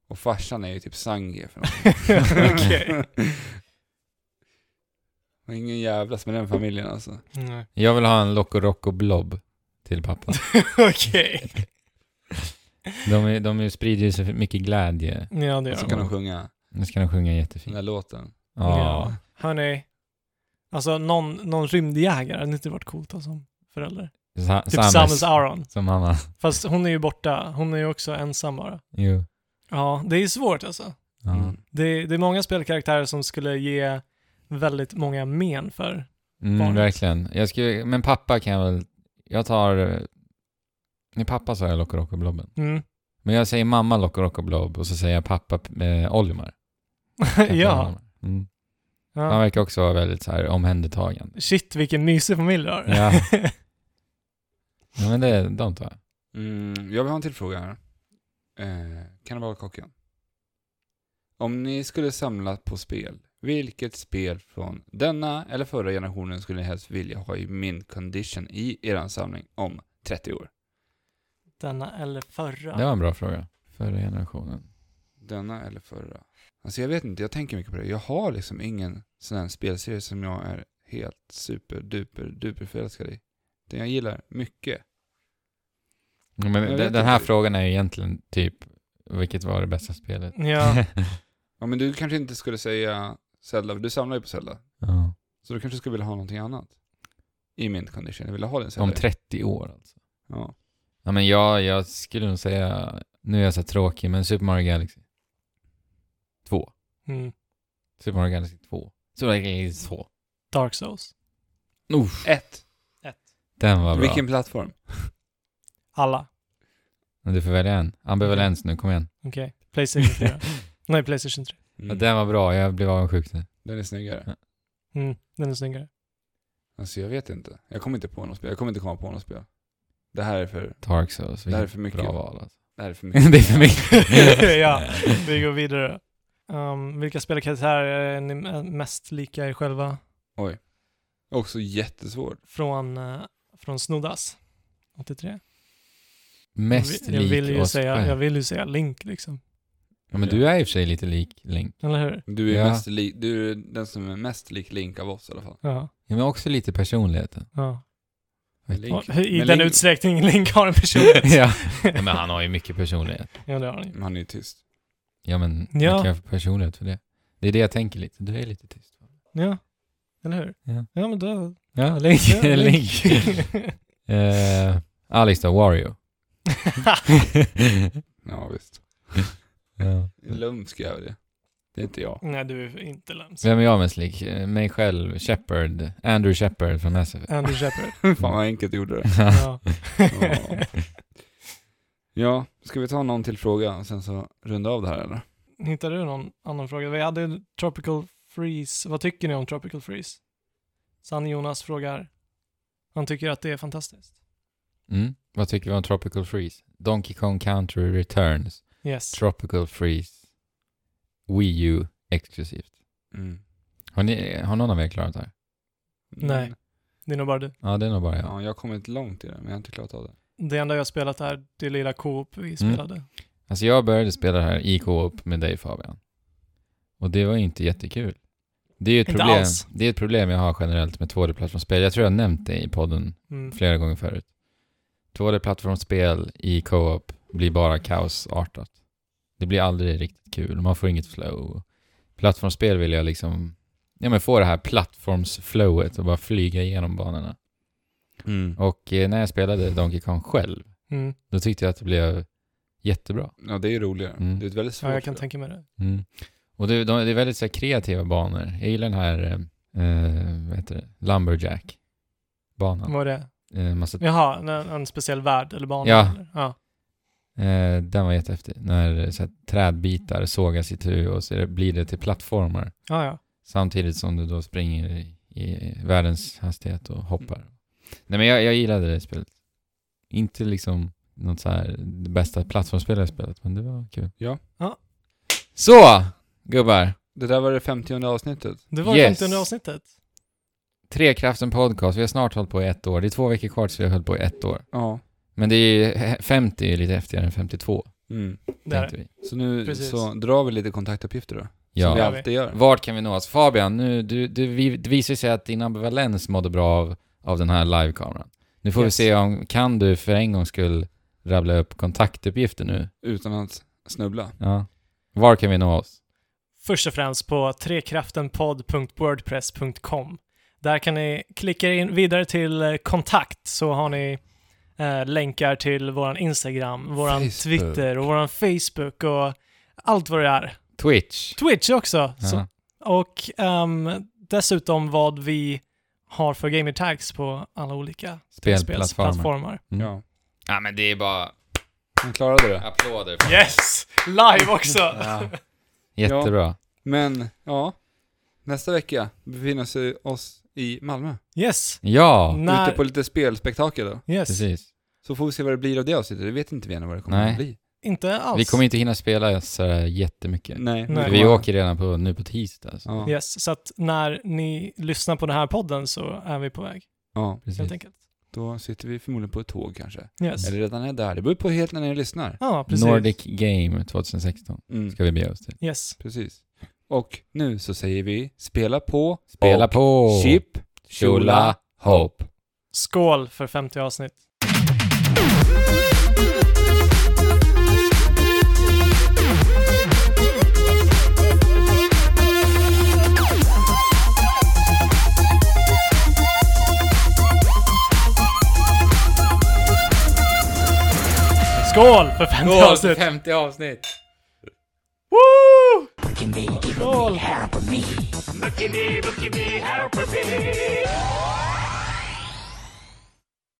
Och farsan är ju typ Sange för något. Okej. Och Ingen jävlas med den familjen alltså. Nej. Jag vill ha en Loco Roco Blob till pappa. Okej. De, är, de är- sprider ju så mycket glädje. Ja, det Och gör så hon. kan de sjunga Nu ska de sjunga den jättefint. där låten. Ja. Hörni, alltså någon, någon rymdjägare hade inte varit coolt att ha som förälder. Sa- Typ Samus. Samus. Aron. Som mamma. Fast hon är ju borta. Hon är ju också ensam bara. Jo. Ja, det är svårt alltså. Ja. Mm. Det, det är många spelkaraktärer som skulle ge väldigt många men för. Mm, Barnet. verkligen. Jag skulle, men pappa kan jag väl... Jag tar... eh, Nej, pappa sa jag Loco Roco Blobben. Mm. Men jag säger mamma Loco Roco Blob och så säger jag pappa eh, Olimar. ja. Mm. Han ja. verkar också vara väldigt så här omhändertagande. Shit, vilken mysig familj du har. Ja. ja men det är de två. Mm, jag vill ha en till fråga här. Eh, Kannibalkocken. Om ni skulle samla på spel, vilket spel från denna eller förra generationen skulle ni helst vilja ha i min condition i er samling om 30 år? Denna eller förra? Det var en bra fråga. Förra generationen. Denna eller förra? Alltså jag vet inte, jag tänker mycket på det. Jag har liksom ingen sån här spelserie som jag är helt super duper duper förälskad i. Den jag gillar mycket. Ja, Jag Men vet den, den här inte. frågan är ju egentligen typ, vilket var det bästa spelet? Ja, Ja men du kanske inte skulle säga Zelda, för du samlar ju på Zelda. Ja. Så du kanske skulle vilja ha någonting annat? I mint condition, jag vill ha den Zelda. Om 30 år alltså. Ja. Ja men jag, jag skulle nog säga, nu är jag så här tråkig, men Super Mario Galaxy 2. mm. Super Mario Galaxy 2. Super Mario Galaxy 2. Dark Souls. Uff, Ett. den var bra. Vilken plattform? Alla. Men Du får välja en. Ambivalens nu, kom igen. Okej. Playstation 4. Nej, Playstation 3. Mm. Ja, den var bra, jag blev avundsjuk nu. Den är snyggare. Mm, den är snyggare. Alltså jag vet inte. Jag kommer inte på något spel. Jag kommer inte komma på något spel. Det här är för, Dark Souls, det här är vilket för mycket. bra val alltså. Det här är för mycket. det är för mycket. ja, vi går vidare. Um, vilka spelkaraktärer är ni mest lika er själva? Också jättesvårt. Från, eh, från Snoddas? 83? Mest jag, vill lik ju oss säga, själv. jag vill ju säga Link liksom. Ja, men du är i och för sig lite lik Link. Eller hur? Du är, Ja. mest lik, du är den som är mest lik Link av oss i alla fall. Ja. Ja, men också lite personligheten. ja. Link. Och I Men den Link- utsträckningen Link har en personlighet. ja. ja, men han har ju mycket personlighet. ja, det har han ju. Men Han är ju tyst. Ja, men Ja. man kan få personlighet för det. Det är det jag tänker lite. Du är lite tyst. Ja, eller hur? Ja. ja men då... Ja, Link. Ja, Link. Eh, Alex då, Wario. Ja visst. ja. Lumsk är jag det. Det är inte jag. Nej, du är inte lömsk. Vem är jag mest lik? Eh, Mig själv, Shepard. Andrew Shepard från Mass Effect. Andy Shepard. Fan vad enkelt du gjorde det. Ja. Ja. ja, ska vi ta någon till fråga och sen så runda av det här eller? Hittar du någon annan fråga? Vi hade Tropical Freeze. Vad tycker ni om Tropical Freeze? Sanne Jonas frågar. Han tycker att det är fantastiskt. Mm. Vad tycker vi om Tropical Freeze? Donkey Kong Country Returns. Yes. Tropical Freeze. Wii U exklusivt. Mm. Har, ni, har någon av er klarat det här? Nej. det är nog bara du. Ja, det är nog bara jag. Ja, jag har kommit långt i det men jag har inte klarat av det. Det enda jag spelat är det lilla Coop Mm. vi spelade. Alltså jag började spela det här i co-op med dig Fabian. Och det var ju inte jättekul. Det är ju ett Inte problem, alls. det är ett problem jag har generellt med 2D-plattformsspel. Jag tror jag har nämnt det i podden Mm. flera gånger förut. 2D-plattformsspel i co-op blir bara kaosartat. Det blir aldrig riktigt kul, man får inget flow. Plattformsspel vill jag liksom, ja men få det här plattformsflowet och bara flyga igenom banorna. Och eh, när jag spelade Donkey Kong själv, Mm. då tyckte jag att det blev jättebra. Ja, det är ju roligare. Mm. Det är ett väldigt svårt Ja, jag kan spel. tänka mig det. Mm. Och det, de, det är väldigt så här, kreativa banor. Jag gillar den här, eh, eh, vad heter det, Lumberjack-banan. Vad är det? Eh, massa, Jaha, en, en speciell värld eller bana? Ja. eller? ja. eh, den var jättehäftig. När eh, så här, trädbitar sågas itu och så är det, blir det till plattformar. Ja, ja. Samtidigt som du då springer i, i världens hastighet och hoppar. Nej men jag, jag gillade det spelet. Inte liksom något så här det bästa plattformsspel jag spelat, men det var kul. Ja. Ja. Så, gubbar. Det där var det 50 avsnittet. Det var Yes. yes. under avsnittet. Trekraften podcast, vi har snart hållit på i ett år. Det är två veckor kvar tills vi har hållit på i ett år. Ja. Men det är ju- 50 är ju lite häftigare än 52, Mm. Det är det. tänkte vi. Så nu Precis. så drar vi lite kontaktuppgifter då. Som vi Ja. gör vi. alltid gör. Vart kan vi nås? Fabian, nu, du, du, vi, det visar sig att din ambivalens mådde bra av, av den här livekameran. Nu får vi Yes. se om, kan du för en gång skulle rabbla upp kontaktuppgifter nu? Utan att snubbla. Ja. Var kan vi nå oss? Först och främst på trekraftenpodd.wordpress.com. Där kan ni klicka in vidare till eh, kontakt så har ni eh, länkar till våran Instagram, våran Facebook. Twitter och våran Facebook och allt vad det är. Twitch. Twitch också. Så, Ja. och ehm, dessutom vad vi har för gamer tags på alla olika Spelplattformar. spelsplattformar. Mm. Ja. Ja, men det är bara Man klarade det. applåder. Yes! Live också! Jättebra. Men, ja. Nästa vecka befinner sig oss i Malmö. Yes! Ja, Ute När, på lite spelspektakel då. yes. precis. Så får vi se vad det blir av det avsnittet. Det vet inte vi ännu vad det kommer Nej. att bli. Inte alls. Vi kommer inte hinna spela så här jättemycket. Nej. Nej. Vi åker redan på, nu på tisdag. Alltså. Ja. Yes, så att när ni lyssnar på den här podden så är vi på väg, ja. Precis. helt enkelt. Då sitter vi förmodligen på ett tåg kanske. Yes. Eller redan är där. Det beror på helt när ni lyssnar. Ja, precis. Nordic Game 2016 Mm. ska vi bege oss till. Yes. Precis. Och nu så säger vi spela på Spela och på! Chip Chula, Hope. Skål för 50 avsnitt. Skål för 50 avsnitt! 50 avsnitt! Woo! Look at me, help me. Look at me, look at me, help me.